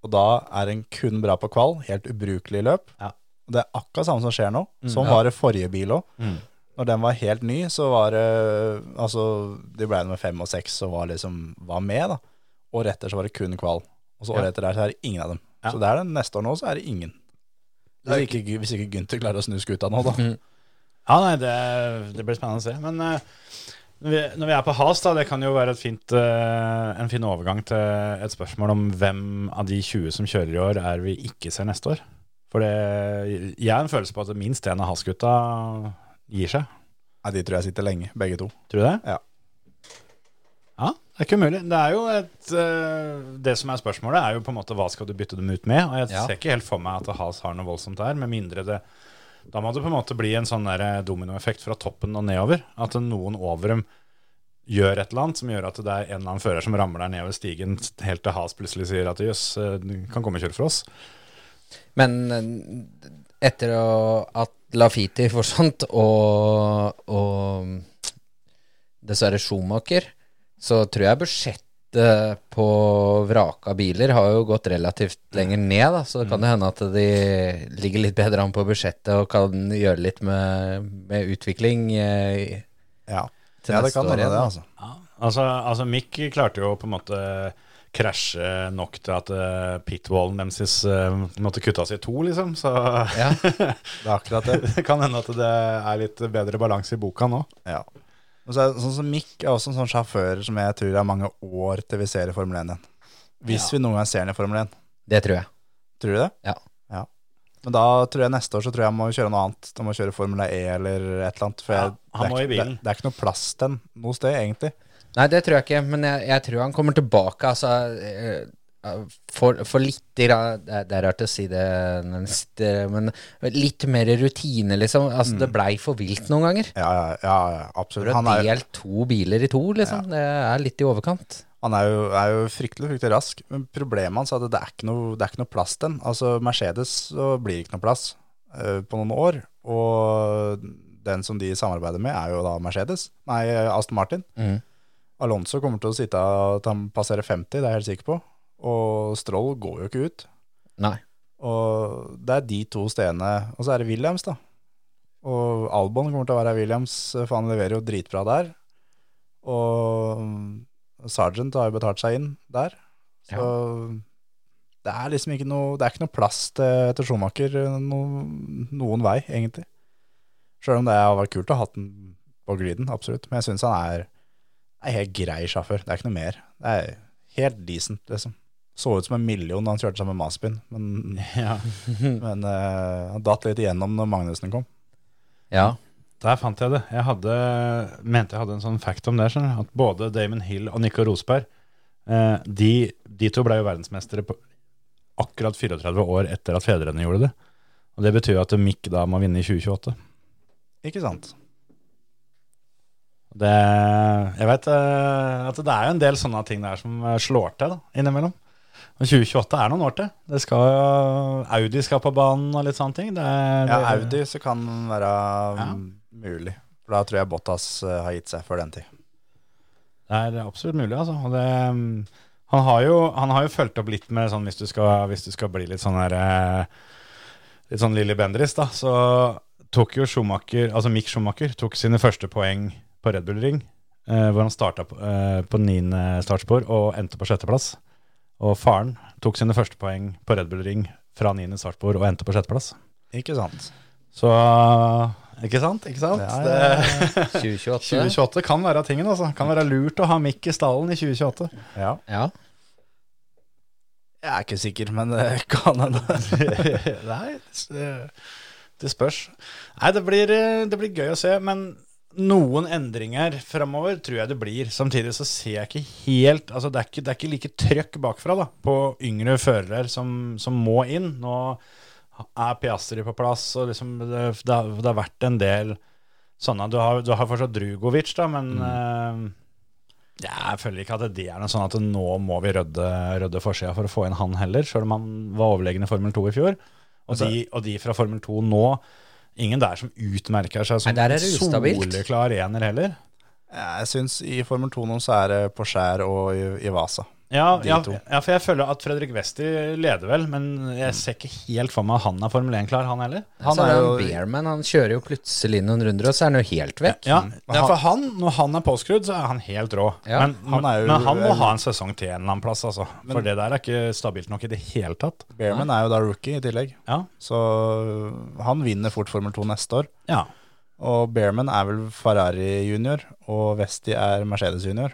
Speaker 1: og da er den kun bra på kvall, helt ubrukelig i løp.
Speaker 2: Ja. Mm.
Speaker 1: Og det er akkurat samme som skjer nå. Sånn var det forrige bil òg. Når den var helt ny, så var det Altså, de ble nummer fem og seks og var liksom var med, da. Året etter så var det kun kvall. Og så året etter der så er det ingen av dem.
Speaker 2: Ja.
Speaker 1: Så det er det neste år nå, så er det ingen. Hvis ikke, hvis ikke Gunther klarer å snu skuta nå, da.
Speaker 2: Ja, nei, det, det blir spennende å se. Men eh, når, vi, når vi er på Has, da, det kan jo være et fint, eh, en fin overgang til et spørsmål om hvem av de 20 som kjører i år, er vi ikke ser neste år. For det, jeg har en følelse på at minst en av Has-gutta gir seg.
Speaker 1: Nei, de tror jeg sitter lenge, begge to.
Speaker 2: Tror du det?
Speaker 1: Ja.
Speaker 2: Ja, det er ikke umulig. Det er jo et eh, Det som er spørsmålet, er jo på en måte hva skal du bytte dem ut med? Og jeg
Speaker 3: Ja.
Speaker 2: ser ikke helt for meg at Has har noe voldsomt der, med mindre det Da må det på en måte bli en sånn der, eh, dominoeffekt fra toppen og nedover. At noen over dem gjør et eller annet som gjør at det er en eller annen fører som ramler der nedover stigen helt til Has plutselig sier at jøss, eh, du kan komme og kjøre for oss.
Speaker 3: Men eh, etter å, at Lafiti forsvant, og, og dessverre Schumacher, så tror jeg budsjettet på vraka biler har jo gått relativt lenger ned, da, så det
Speaker 1: Mm.
Speaker 3: kan jo hende at de ligger litt bedre an på budsjettet og kan gjøre litt med, med utvikling. eh,
Speaker 1: Ja.
Speaker 3: til
Speaker 1: ja, det
Speaker 3: neste
Speaker 1: kan
Speaker 3: år
Speaker 1: hende
Speaker 3: igjen,
Speaker 1: det,
Speaker 3: da.
Speaker 1: altså.
Speaker 2: Altså, altså Mick klarte jo på en måte krasje nok til at eh, pitwallen deres eh, måtte kuttes i to, liksom. Så
Speaker 3: Ja.
Speaker 1: Det er akkurat det.
Speaker 2: det kan hende at det er litt bedre balanse i boka nå.
Speaker 1: Ja. Og så er, det sånn som Mick er også en sånn sjåfør som jeg tror er mange år til vi ser i Formel 1 igjen. Hvis vi noen gang ser den i Formel 1.
Speaker 3: Det tror jeg.
Speaker 1: Tror du det?
Speaker 3: Ja.
Speaker 1: ja. Men da tror jeg neste år så tror jeg han må kjøre noe annet. Han må kjøre Formel E eller et eller annet. For
Speaker 2: Ja,
Speaker 1: jeg,
Speaker 2: han
Speaker 1: det,
Speaker 2: må i
Speaker 1: er, ikke-
Speaker 2: bilen.
Speaker 1: det, det er ikke noe plass til den noe sted, egentlig.
Speaker 3: Nei, det tror jeg ikke, men jeg, jeg tror han kommer tilbake. Altså, eh, for, for litt grann, det, er- det er rart å si det, nærmest, eh, men litt mer rutine, liksom. Altså, Det blei for vilt noen ganger.
Speaker 1: Ja, ja, ja, ja absolutt.
Speaker 3: For å
Speaker 1: Mm. Han er,
Speaker 3: dele to biler i to, liksom. Det er litt i overkant.
Speaker 1: han er, jo, er jo fryktelig fryktelig rask, men problemet hans er at det er ikke noe, det er ikke noe plass til den. Altså Mercedes så blir det ikke noe plass eh, på noen år, og den som de samarbeider med er jo da Mercedes, nei eh, Aston Martin.
Speaker 3: Mhm.
Speaker 1: Alonso kommer til å sitte at han passerer 50, det er jeg helt sikker på, og Stroll går jo ikke ut.
Speaker 3: Nei.
Speaker 1: Og det er de to stedene, og så er det Williams da. Og Albon kommer til å være Williams, eh, for han leverer jo dritbra der. Og Sargent har jo betalt seg inn der. Så det er liksom ikke noe, det er ikke noe plass til, til Schumacher eh, no, noen vei, egentlig. Selv om det har vært kult å ha hatt den på gliden, absolutt. Men jeg synes han er en helt grei sjåfør, det er ikke noe mer. Det er helt decent, liksom. Så ut som en million da han kjørte sammen med Maspin, men
Speaker 2: Ja.
Speaker 1: men eh, han datt litt igjennom når Magnussen kom.
Speaker 3: Ja.
Speaker 2: Der fant jeg det. Jeg hadde, mente jeg hadde en sånn fact om det. skjønner du, At både Damon Hill og Nico Rosberg eh, de, de to ble jo verdensmestere på akkurat 34 år etter at fedrene gjorde det. Og Det betyr jo at Mick da må vinne i 2028.
Speaker 1: Ikke sant?
Speaker 2: Det, jeg vet eh, at det er jo en del sånne ting der som eh, slår til da, innimellom. Men 2028 er noen år til. Det skal, jo- Audi skal på banen og litt sånne ting. Det er,
Speaker 1: Ja,
Speaker 2: det-
Speaker 1: Audi så kan være um,
Speaker 2: Ja.
Speaker 1: mulig. For da tror jeg Bottas eh, har gitt seg før den tid.
Speaker 2: Det er absolutt mulig, altså. Og det, mm, han, har jo, han har jo fulgt opp litt med sånn hvis du skal, hvis du skal bli litt sånn der eh, Litt sånn Lilly Bendriss, da. Så tok jo Schumacher, altså Mick Schumacher, tok sine første poeng på Red Bull Ring. eh, hvor han starta på, eh, på niende startspor og endte på sjetteplass. Og faren tok sine første poeng på Red Bull Ring fra niende startspor og endte på sjetteplass.
Speaker 1: Ikke sant?
Speaker 2: Så Ikke sant? Ikke sant?
Speaker 1: Ja, ja,
Speaker 2: Det-
Speaker 3: 2028.
Speaker 2: 2028 kan være tingen, altså. Kan være lurt å ha Mick i stallen i 2028.
Speaker 1: Ja.
Speaker 3: Ja.
Speaker 1: Jeg er ikke sikker, men det kan hende.
Speaker 2: Nei, det, det spørs. Nei, det blir, eh, det blir gøy å se, men noen endringer framover tror jeg det blir. Samtidig så ser jeg ikke helt Altså, det er ikke, det er ikke like trøkk bakfra da, på yngre førere som, som må inn. Nå er Piastri på plass, og liksom det, det, har, det har vært en del sånne. Du har, du har fortsatt Drugovic, da, men eh, jeg føler ikke at det er noe sånn at nå må vi rødde, rødde forsida for å få inn han heller, sjøl om han var overlegen i Formel 2 i fjor. Og, de, og de fra Formel 2 nå Ingen der som utmerker seg som
Speaker 3: Nei, der er det ustabilt.
Speaker 2: soleklar ener heller.
Speaker 1: Jeg syns i Formel 2 nå så er det på skjær og i, i Vasa.
Speaker 2: Ja,
Speaker 1: De
Speaker 2: ja,
Speaker 1: to.
Speaker 2: ja, for jeg føler at Fredrik Westi leder vel, men jeg ser ikke helt for meg at han er Formel 1-klar, han heller.
Speaker 1: Han
Speaker 3: så
Speaker 1: er
Speaker 3: er
Speaker 1: jo-
Speaker 3: jo Bearman, han kjører jo plutselig noen runder, og så er han jo helt vekk.
Speaker 2: Ja, ja, for han, når han er påskrudd, så er han helt rå.
Speaker 3: Ja,
Speaker 2: men,
Speaker 1: han
Speaker 2: han
Speaker 1: er jo-
Speaker 2: men han må ha en sesong til en eller annen plass, altså. for det der er ikke stabilt nok i det hele tatt.
Speaker 1: Bearman er jo da rookie i tillegg,
Speaker 2: Ja,
Speaker 1: så uh, han vinner fort Formel 2 neste år.
Speaker 2: ja.
Speaker 1: Og Bearman er vel Ferrari junior, og Westi er Mercedes junior.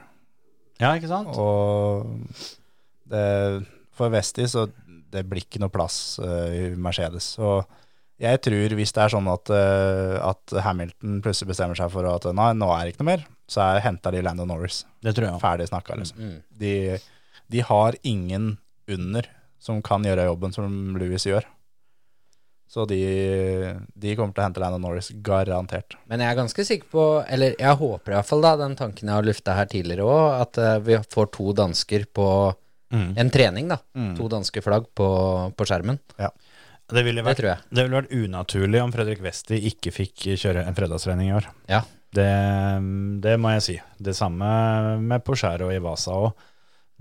Speaker 2: ja ikke sant?
Speaker 1: Og det, for Westi så det blir ikke noe plass eh, i Mercedes. Og jeg tror hvis det er sånn at, eh, at Hamilton plutselig bestemmer seg for at nei, nå er det ikke noe mer, så er henta de Lando Norris.
Speaker 2: Det tror jeg også. Mm,
Speaker 1: Ferdig snakka, liksom. De, de har ingen under som kan gjøre jobben som Louis gjør. Så de, de kommer til å hente Lando Norris, garantert.
Speaker 3: Men jeg er ganske sikker på, eller jeg håper i hvert fall da, den tanken jeg har lufta her tidligere òg, at eh, vi får to dansker på
Speaker 2: Mm.
Speaker 3: en trening, da. To danske flagg på, på skjermen.
Speaker 2: Det ville vært,
Speaker 3: Det tror jeg.
Speaker 2: det ville vært unaturlig om Fredrik Westi ikke fikk kjøre en fredagstrening i år.
Speaker 3: Ja.
Speaker 2: Det, det må jeg si. Det samme med Pocher og Ivasa òg.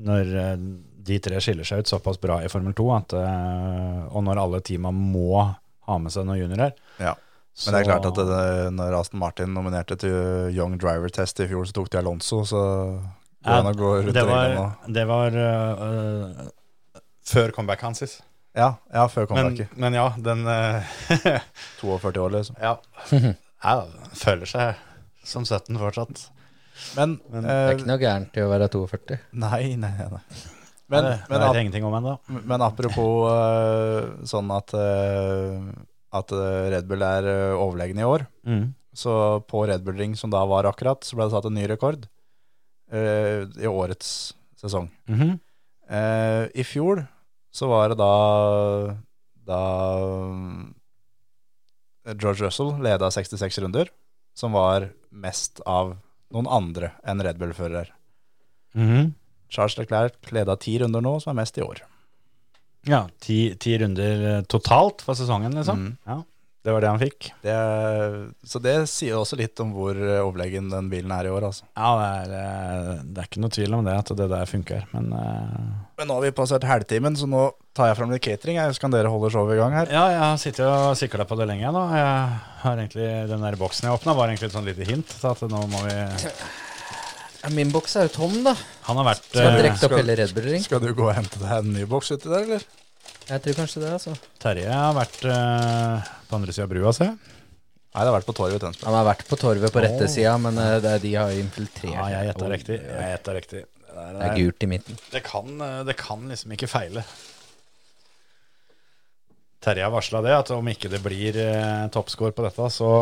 Speaker 2: Når eh, de tre skiller seg ut såpass bra i Formel 2, at, eh, og når alle teama må ha med seg noen juniorer
Speaker 1: Ja.
Speaker 2: så-
Speaker 1: Men det er klart at det, når Aston Martin nominerte til Young Driver Test i fjor, så tok de Alonso, så går
Speaker 2: Ja,
Speaker 1: han og går rundt
Speaker 2: det
Speaker 1: i
Speaker 2: var,
Speaker 1: ringen nå.
Speaker 2: det var eh, eh, før comeback hans.
Speaker 1: Ja, ja, før
Speaker 2: Men,
Speaker 1: comebacket.
Speaker 2: men ja, den eh,
Speaker 1: 42 år, liksom.
Speaker 2: Ja. Jeg føler seg som 17 fortsatt.
Speaker 1: Men,
Speaker 3: Det
Speaker 1: eh,
Speaker 3: er ikke noe gærent i å være 42.
Speaker 1: Nei, nei, nei. nei. Men,
Speaker 2: det
Speaker 1: men,
Speaker 2: vet
Speaker 1: ap
Speaker 2: jeg ingenting om ennå.
Speaker 1: men apropos eh, sånn at, eh, at eh, Red Bull er eh, overlegen i år,
Speaker 2: Mm.
Speaker 1: så på Red Bull Ring, som da var akkurat, så ble det satt en ny rekord eh, i årets sesong.
Speaker 2: Mhm.
Speaker 1: Eh, I fjor så var det da da um, George Russell leda 66 runder, som var mest av noen andre enn Red Bull-fører.
Speaker 2: Mhm.
Speaker 1: Charles Leclerc leda ti runder nå, som er mest i år.
Speaker 2: Ja, ti, ti runder eh, totalt for sesongen, liksom.
Speaker 1: Mm.
Speaker 2: Ja, det var det han fikk.
Speaker 1: Det, er- så det sier også litt om hvor eh, overlegen den bilen er i år, altså.
Speaker 2: Ja, det er, eh, det er ikke noe tvil om det, at det der funker. Men eh,
Speaker 1: Men nå har vi passert halvtimen, så nå tar jeg fram litt catering. Jeg, så kan dere holde showet i gang her?
Speaker 2: ja, jeg har sittet og sikla på det lenge, jeg, da. Jeg har egentlig, den der boksen jeg åpna, var egentlig et sånn lite hint til at nå må vi
Speaker 3: Ja, Min boks er jo tom, da.
Speaker 2: Han har vært
Speaker 3: Skal
Speaker 2: eh,
Speaker 3: direkte opp
Speaker 1: skal-
Speaker 3: hele Red Bull Ring.
Speaker 1: Skal du gå og hente deg en ny boks uti der, eller?
Speaker 3: Jeg tror kanskje det, altså.
Speaker 2: Terje har vært eh, på andre sida av brua, ser jeg.
Speaker 1: Nei, det har vært på torget i Tønsberg.
Speaker 3: Han har vært på torvet på rette sida, men eh, det, er de har jo infiltrert.
Speaker 2: Ja, jeg gjetta
Speaker 3: Oi,
Speaker 2: riktig. Jeg gjetta riktig. Det der
Speaker 3: Det er
Speaker 2: er- eh,
Speaker 3: gult i midten.
Speaker 2: Det kan, eh, det kan liksom ikke feile. Terje har varsla det, at om ikke det blir eh, toppscore på dette, så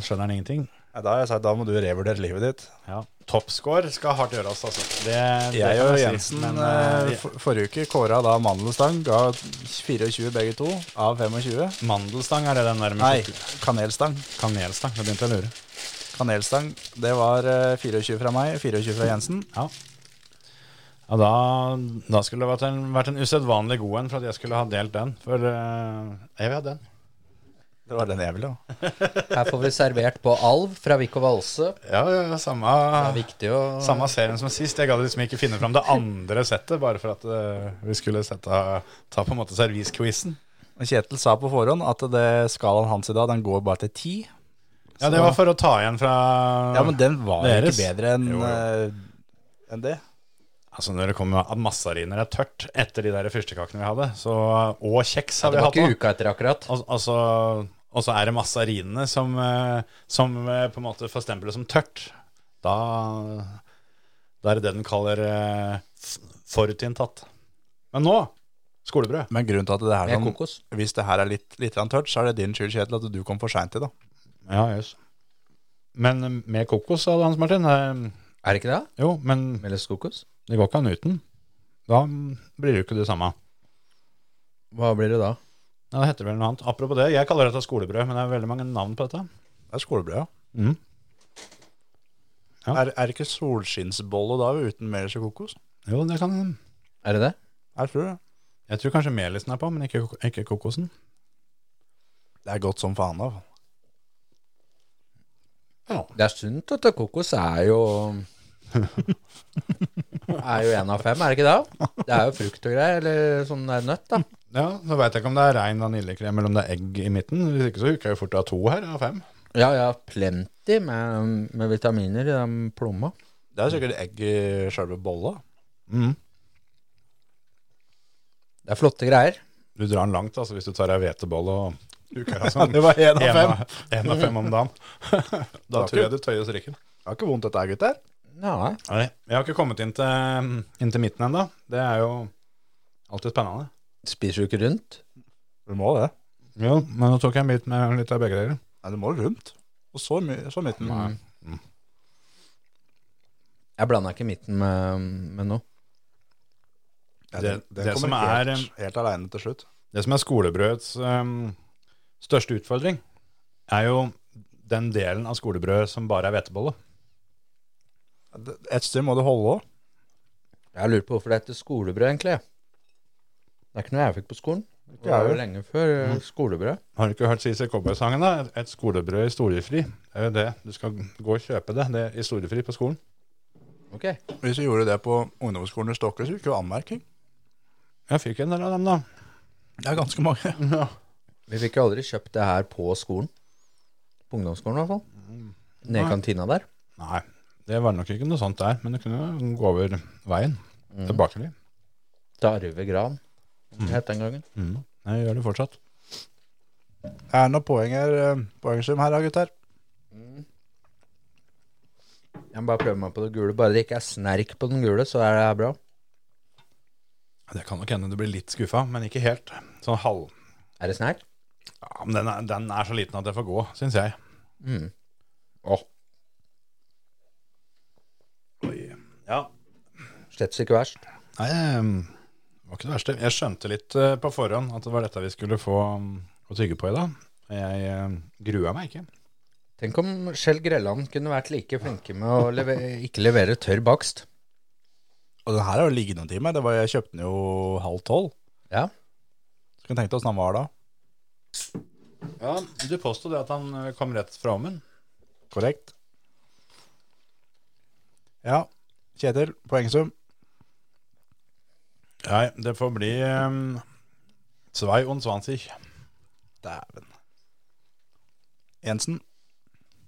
Speaker 2: skjønner han ingenting.
Speaker 1: Nei, Da har jeg sagt da må du revurdere livet ditt.
Speaker 2: Ja. Toppscore skal hardt gjøres, altså. Det, det
Speaker 1: Jeg
Speaker 2: kan
Speaker 1: og
Speaker 2: si,
Speaker 1: Jensen
Speaker 2: men,
Speaker 1: eh,
Speaker 2: eh,
Speaker 1: for, forrige uke kåra da mandelstang. Ga 24 begge to av 25.
Speaker 2: Mandelstang er det den der med
Speaker 1: Nei,
Speaker 2: sjokolade-
Speaker 1: kanelstang.
Speaker 2: kanelstang. Det begynte jeg å lure.
Speaker 1: Kanelstang, det var eh, 24 fra meg, 24 fra Jensen.
Speaker 2: Ja. Ja, da, da skulle det vært en, vært en usedvanlig god en for at jeg skulle ha delt den. For eh, jeg vil ha den.
Speaker 1: Det var den jeg ville ha.
Speaker 3: Her får vi servert på alv fra Vik og Valse.
Speaker 2: Ja, ja, samme,
Speaker 3: Det er viktig å
Speaker 2: samme serien som sist. Jeg gadd liksom ikke finne fram det andre settet, bare for at eh, vi skulle sette, ta på en måte servisquizen.
Speaker 1: Og Kjetil sa på forhånd at det skalaen hans i dag, den går bare til 10.
Speaker 2: Ja, det var for å ta igjen fra
Speaker 1: Ja, men den var jo
Speaker 2: Deres.
Speaker 1: ikke bedre enn
Speaker 2: Jo, jo.
Speaker 1: eh, enn det.
Speaker 2: Altså Når det kommer at massariner er tørt etter de der fyrstekakene vi hadde, så, og kjeks har
Speaker 3: Det
Speaker 2: vi
Speaker 3: var
Speaker 2: hatt
Speaker 3: ikke
Speaker 2: nå.
Speaker 3: uka etter, akkurat.
Speaker 2: Al- Altså, og så er det massarinene som, eh, som eh, på en måte får stempelet som tørt. Da, da er det det den kaller eh, f- forutinntatt. Men nå skolebrød.
Speaker 1: Men grunnen til at det her
Speaker 3: Med
Speaker 1: sånn,
Speaker 3: kokos.
Speaker 1: hvis det her er litt, litt grann tørt, så er det din skyld, Kjetil, at du kom for seint i dag.
Speaker 2: Ja, jøss. Men eh, med kokos, sa Hans Martin. Eh,
Speaker 3: Er det ikke det?
Speaker 2: Jo, men
Speaker 3: Meles kokos?
Speaker 2: det går ikke an uten. Da blir det jo ikke det samme.
Speaker 3: Hva blir det da?
Speaker 2: Ja, det heter vel noe annet. Apropos det, jeg kaller dette skolebrød, men det er veldig mange navn på dette.
Speaker 1: Det er skolebrød, ja.
Speaker 2: Mm. Ja.
Speaker 1: Er, er det ikke solskinnsbolle da uten melis og kokos?
Speaker 2: Jo, det kan
Speaker 3: Er det det?
Speaker 1: Jeg tror det.
Speaker 2: Jeg tror kanskje melisen er på, men ikke, kok- ikke kokosen.
Speaker 1: Det er godt som faen av.
Speaker 3: Det er sunt at kokos er jo Er jo en av fem, er det ikke det? Det er jo frukt og greier, eller sånn der nøtt, da.
Speaker 2: Ja, så veit jeg ikke om det er rein vaniljekrem eller om det er egg i midten. Hvis ikke så huker jeg jo fort av to her, av fem.
Speaker 3: Ja, ja, plenty med, med vitaminer i den plomma.
Speaker 1: Det er sikkert egg i sjølve bolla.
Speaker 3: Det er flotte greier.
Speaker 2: Du drar den langt altså, hvis du tar ei hvetebolle og huker av
Speaker 1: Det var en av
Speaker 2: sånn En
Speaker 1: fem.
Speaker 2: en av fem om dagen. da tror jeg du tøyer strikken.
Speaker 1: Det er ikke vondt dette her, gutter.
Speaker 3: Nei.
Speaker 2: Nei, jeg har ikke kommet inn til, inn til midten ennå. Det er jo alltid spennende.
Speaker 3: Spiser du ikke rundt?
Speaker 1: Du må det.
Speaker 2: Jo, men nå tok jeg en bit med litt av begge dere.
Speaker 1: Nei, du må rundt. Og så, my så midten.
Speaker 3: Nei. Mm. Jeg blanda ikke midten med, med noe.
Speaker 1: Ja,
Speaker 2: Det-
Speaker 1: den- den
Speaker 2: det
Speaker 1: kommer
Speaker 2: som er,
Speaker 1: helt, helt aleine til slutt.
Speaker 2: Det som er skolebrødets ehm, største utfordring, er jo den delen av skolebrød som bare er hvetebolle.
Speaker 1: Et sted må du holde òg.
Speaker 3: Jeg lurer på hvorfor det heter skolebrød, egentlig. Det er ikke noe jeg fikk på skolen. Det var jo lenge før eh, skolebrød.
Speaker 2: Har du ikke hørt CC Cowboy-sangen, da? Et- Et skolebrød i storefri. Det er jo det. Du skal gå og kjøpe det, det i storefri på skolen.
Speaker 3: Ok.
Speaker 1: Hvis du gjorde det på ungdomsskolen i Stokke, så fikk du anmerking.
Speaker 2: Jeg fikk en del av dem, da.
Speaker 1: Det er ganske mange.
Speaker 3: Vi fikk jo aldri kjøpt det her på skolen. På ungdomsskolen, i hvert fall. Nede i kantina der.
Speaker 2: Nei, det var nok ikke noe sånt der, men det kunne jo gå over veien. Til bakeri.
Speaker 3: Darve Gran, som det het den gangen.
Speaker 2: Jeg gjør det fortsatt.
Speaker 1: Det er noen poenger, eh, poengsum her, da, gutter.
Speaker 3: Jeg må bare prøve meg på det gule. Bare det ikke er snerk på den gule, så er det her bra.
Speaker 2: Det kan nok hende du blir litt skuffa, men ikke helt. Sånn halv...
Speaker 3: Er det snerk?
Speaker 2: Ja, men den er, den er så liten at jeg får gå, syns jeg.
Speaker 3: Åh,
Speaker 2: Ja,
Speaker 3: slett ikke verst.
Speaker 2: Nei, det var ikke det verste. Jeg skjønte litt eh, på forhånd at det var dette vi skulle få mm, å tygge på i dag. Jeg eh, grua meg ikke.
Speaker 3: Tenk om Skjell Grelland kunne vært like flinke med å leve ikke levere tørr bakst.
Speaker 1: Og den her har jo ligget noen timer. Det var, jeg kjøpte den jo halv tolv.
Speaker 3: Ja.
Speaker 1: Skulle tenkt oss den var da.
Speaker 2: Ja, Du påsto det at han eh, kom rett fra ovnen.
Speaker 1: Korrekt. Ja. Kjetil, poengsum.
Speaker 2: Nei, det får bli um, Svei und Swansig.
Speaker 1: Dæven. Jensen.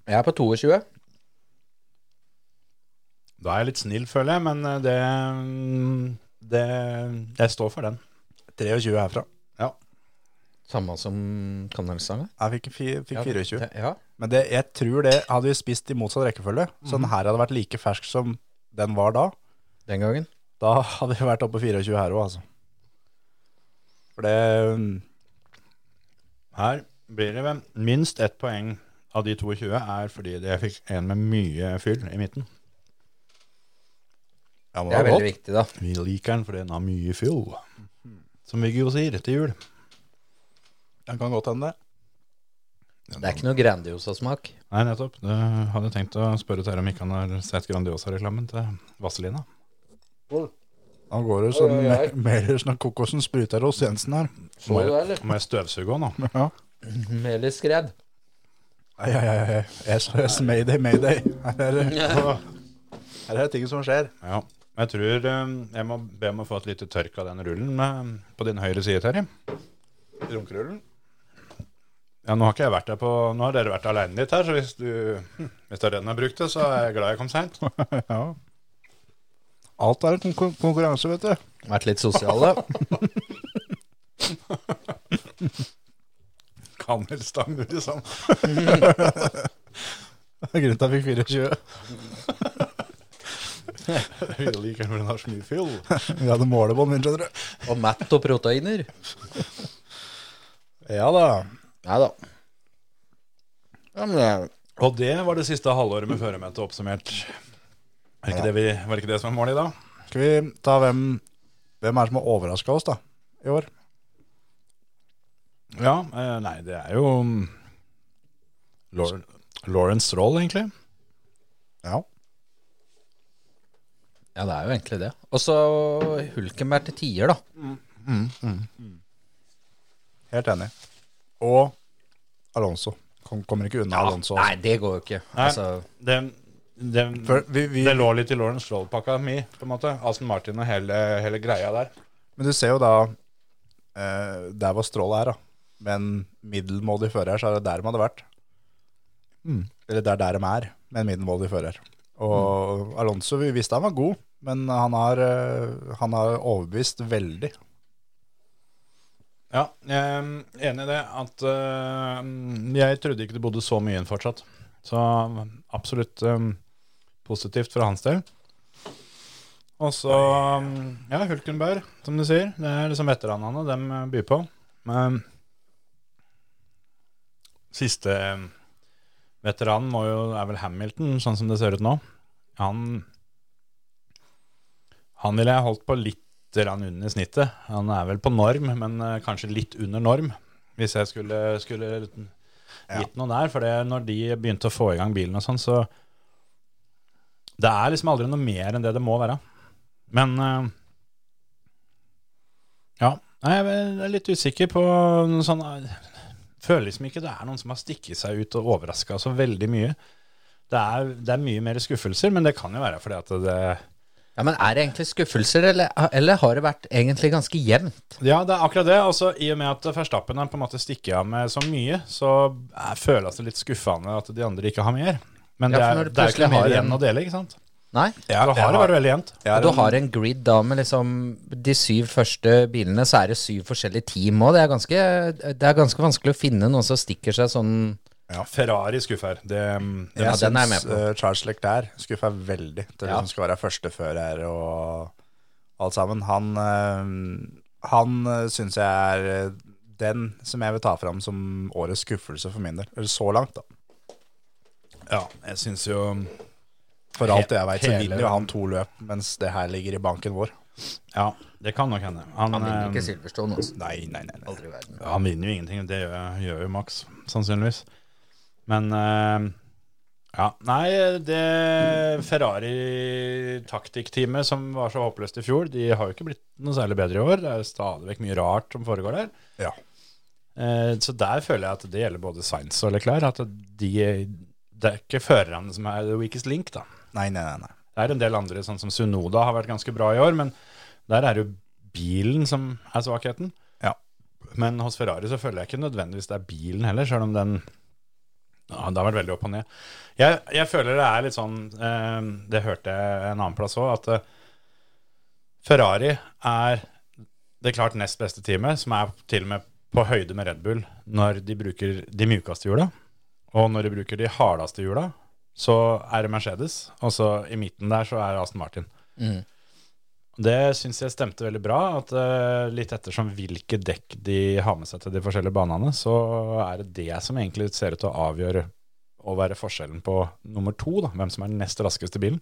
Speaker 3: Jeg er på 22.
Speaker 2: Da er jeg litt snill, føler jeg, men eh, det, mm, det Jeg står for den.
Speaker 1: 23 herfra.
Speaker 3: Samme som kanelstanga.
Speaker 1: Jeg fikk, fi, fikk 24.
Speaker 3: Ja, ja.
Speaker 1: Men det, jeg tror det hadde vi spist i motsatt rekkefølge. Så
Speaker 2: Mhm.
Speaker 1: den her hadde vært like fersk som den var da.
Speaker 3: den gangen.
Speaker 1: Da hadde vi vært oppe på 24 her òg, altså. For det mm,
Speaker 2: Her blir det vel minst ett poeng av de 22 er fordi jeg fikk en med mye fyll i midten.
Speaker 1: Ja, men
Speaker 3: Det er
Speaker 1: var godt.
Speaker 3: veldig viktig, da.
Speaker 2: Vi liker den fordi den har mye fyll. Som Viggo sier, til jul.
Speaker 1: Den kan godt hende.
Speaker 3: Det er ikke noe Grandiosa-smak.
Speaker 2: Nei, nettopp. Det hadde jeg tenkt å spørre Terje om ikke han har sett Grandiosa-reklamen til Vazelina.
Speaker 1: Nå går det sånn mer sånn kokosen spruter hos Jensen her.
Speaker 3: Så du det, eller?
Speaker 2: Må jeg støvsuge òg nå?
Speaker 1: Ja.
Speaker 3: Melisskred.
Speaker 1: Ai, ai, ai, ai. SOS, mayday, mayday. Her er, det- her er det ting som skjer.
Speaker 2: Ja. Jeg tror eh, jeg må be om å få et lite tørk av den rullen eh, på din høyre side, Terje.
Speaker 1: Runkerullen.
Speaker 2: Ja, nå har ikke jeg vært der på Nå har dere vært aleine litt her, så hvis du Hvis det er den jeg brukte, så er jeg glad jeg kom seint.
Speaker 1: Ja. Alt er en kon konkurranse, vet du.
Speaker 3: Vært litt sosiale.
Speaker 2: Kanelstang, du, liksom.
Speaker 1: Grunnen til at jeg fikk 24.
Speaker 2: Jeg liker når den har så mye fyll.
Speaker 1: Vi hadde målebånd, min, skjønner du.
Speaker 3: Og mett og proteiner.
Speaker 1: Ja da.
Speaker 3: Nei da. Ja, men det er
Speaker 2: Og det var det siste halvåret med føremøte oppsummert. Er ikke det vi, var det ikke det som var målet i dag?
Speaker 1: Skal vi ta hvem Hvem er det som har overraska oss, da? I år?
Speaker 2: Ja, eh, nei, det er jo mm, Lauren, Lauren Stroll, egentlig.
Speaker 1: Ja.
Speaker 3: Ja, det er jo egentlig det. Og så Hulkenberg til tier, da.
Speaker 1: Helt enig. Og Alonso. Kom, kommer ikke unna Alonso.
Speaker 3: Nei, det går jo ikke.
Speaker 2: Nei.
Speaker 3: Altså,
Speaker 2: Det, det,
Speaker 1: For vi, vi,
Speaker 2: det lå litt i Lauren Stroll-pakka mi, på en måte. Aston Martin og hele, hele greia der.
Speaker 1: men du ser jo da eh, der hvor Strål er, da. Men middelmådig fører, så er det der de hadde vært. Eller det er der de er, med en middelmådig fører. Og Alonso, vi visste han var god, men han har, eh, han har overbevist veldig.
Speaker 2: Ja, jeg er enig i det. At eh, jeg trodde ikke det bodde så mye inn fortsatt. Så absolutt eh, positivt fra hans del. Og så Ja, Hulkenberg, som du sier. Det er liksom veteranene dem byr på. Men siste veteranen må jo, er vel Hamilton, sånn som det ser ut nå. Han Han ville jeg holdt på litt grann under snittet. Han er vel på norm, men eh, kanskje litt under norm, hvis jeg skulle, skulle gitt noe der. For det, når de begynte å få i gang bilen og sånn, så Det er liksom aldri noe mer enn det det må være. Men eh, Ja. Nei, jeg er litt usikker på noe sånn Føler liksom ikke det er noen som har stikket seg ut og overraska så veldig mye. Det er, det er mye mer skuffelser, men det kan jo være fordi at det
Speaker 3: ja, men er det egentlig skuffelser, eller, eller har det vært egentlig ganske jevnt?
Speaker 2: Ja, det er akkurat det. Altså, I og med at Verstappen er på en måte stikker av med så mye, så er- føles det litt skuffende at de andre ikke har mer. Men
Speaker 3: Ja,
Speaker 2: det
Speaker 3: for
Speaker 2: er,
Speaker 3: når
Speaker 2: det er
Speaker 3: du
Speaker 2: ikke
Speaker 3: plutselig
Speaker 2: noe mer
Speaker 3: har en-
Speaker 2: igjen å dele, ikke sant?
Speaker 3: Nei?
Speaker 2: Ja, da
Speaker 1: jeg
Speaker 2: har det
Speaker 1: har-
Speaker 2: vært veldig jevnt.
Speaker 1: Jeg er
Speaker 3: du
Speaker 1: en-
Speaker 3: har en grid da med liksom de syv første bilene, så er det syv forskjellige team òg. Det, er ganske- det er ganske vanskelig å finne noen som stikker seg sånn
Speaker 2: Ferrari skuffer. Det, mm, det,
Speaker 3: Ja,
Speaker 1: Jeg
Speaker 3: den er jeg med
Speaker 1: syns
Speaker 3: på.
Speaker 1: eh, Charles Leclerc skuffa veldig til
Speaker 3: Ja.
Speaker 1: det som skal være førstefører og alt sammen. Han, eh, han eh, syns jeg er eh, den som jeg vil ta fram som årets skuffelse for min del. Eller så langt, da.
Speaker 2: ja, jeg syns jo
Speaker 1: For alt jeg veit, så
Speaker 2: hele-
Speaker 1: vinner jo han to løp, mens det her ligger i banken vår.
Speaker 2: Ja, det kan nok hende. Han,
Speaker 3: Han vinner ikke
Speaker 2: eh,
Speaker 3: Silverstone, altså.
Speaker 1: Nei, nei, nei. nei.
Speaker 3: Aldri i verden.
Speaker 2: han vinner jo ingenting. Det gjør, gjør jo Max, sannsynligvis. Men eh, ja, nei, det Ferrari-taktikkteamet som var så håpløst i fjor, de har jo ikke blitt noe særlig bedre i år. Det er jo stadig vekk mye rart som foregår der.
Speaker 1: Ja.
Speaker 2: Eh, Så der føler jeg at det gjelder både Sainz og Leclerc. At de, det er ikke førerne som er the weakest link, da.
Speaker 1: Nei, nei, nei, nei.
Speaker 2: Det er en del andre, sånn som Sunoda har vært ganske bra i år, men der er det jo bilen som er svakheten.
Speaker 1: Ja.
Speaker 2: Men hos Ferrari så føler jeg ikke nødvendigvis det er bilen heller, selv om den ja, Det har vært veldig opp og ned. Jeg, jeg føler det er litt sånn eh, Det hørte jeg en annen plass òg, at eh, Ferrari er det klart nest beste teamet, som er til og med på høyde med Red Bull når de bruker de mjukeste hjula. Og når de bruker de hardeste hjula, så er det Mercedes, og så i midten der så er det Aston Martin.
Speaker 3: Mm.
Speaker 2: Det syns jeg stemte veldig bra, at eh, litt ettersom hvilke dekk de har med seg til de forskjellige banene, så er det det som egentlig ser ut til å avgjøre å være forskjellen på nummer to, da, hvem som er den nest raskeste bilen.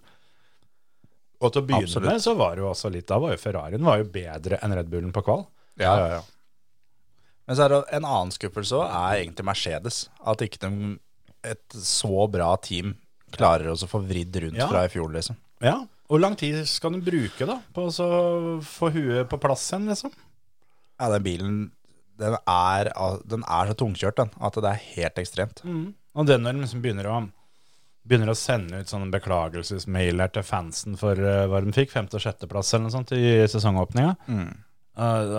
Speaker 2: Og til å begynne
Speaker 1: Absolutt.
Speaker 2: med så var det jo også litt Da var jo Ferrarien var jo bedre enn Red Bullen på kval.
Speaker 1: Ja, ja, ja. Men så er det en annen skuffelse også, er egentlig Mercedes. At ikke de, et så bra team klarer oss å få vridd rundt
Speaker 2: Ja.
Speaker 1: fra i fjor, liksom.
Speaker 2: Ja, Hvor lang tid skal du bruke da på å så få huet på plass igjen, liksom?
Speaker 1: Ja, den bilen, den er, al- den er så tungkjørt, den, at det er helt ekstremt.
Speaker 2: Mm. Og det når de liksom begynner å Begynner å sende ut sånne beklagelsesmailer til fansen for eh, hva de fikk, femte- og sjetteplass eller noe sånt i sesongåpninga. Eh,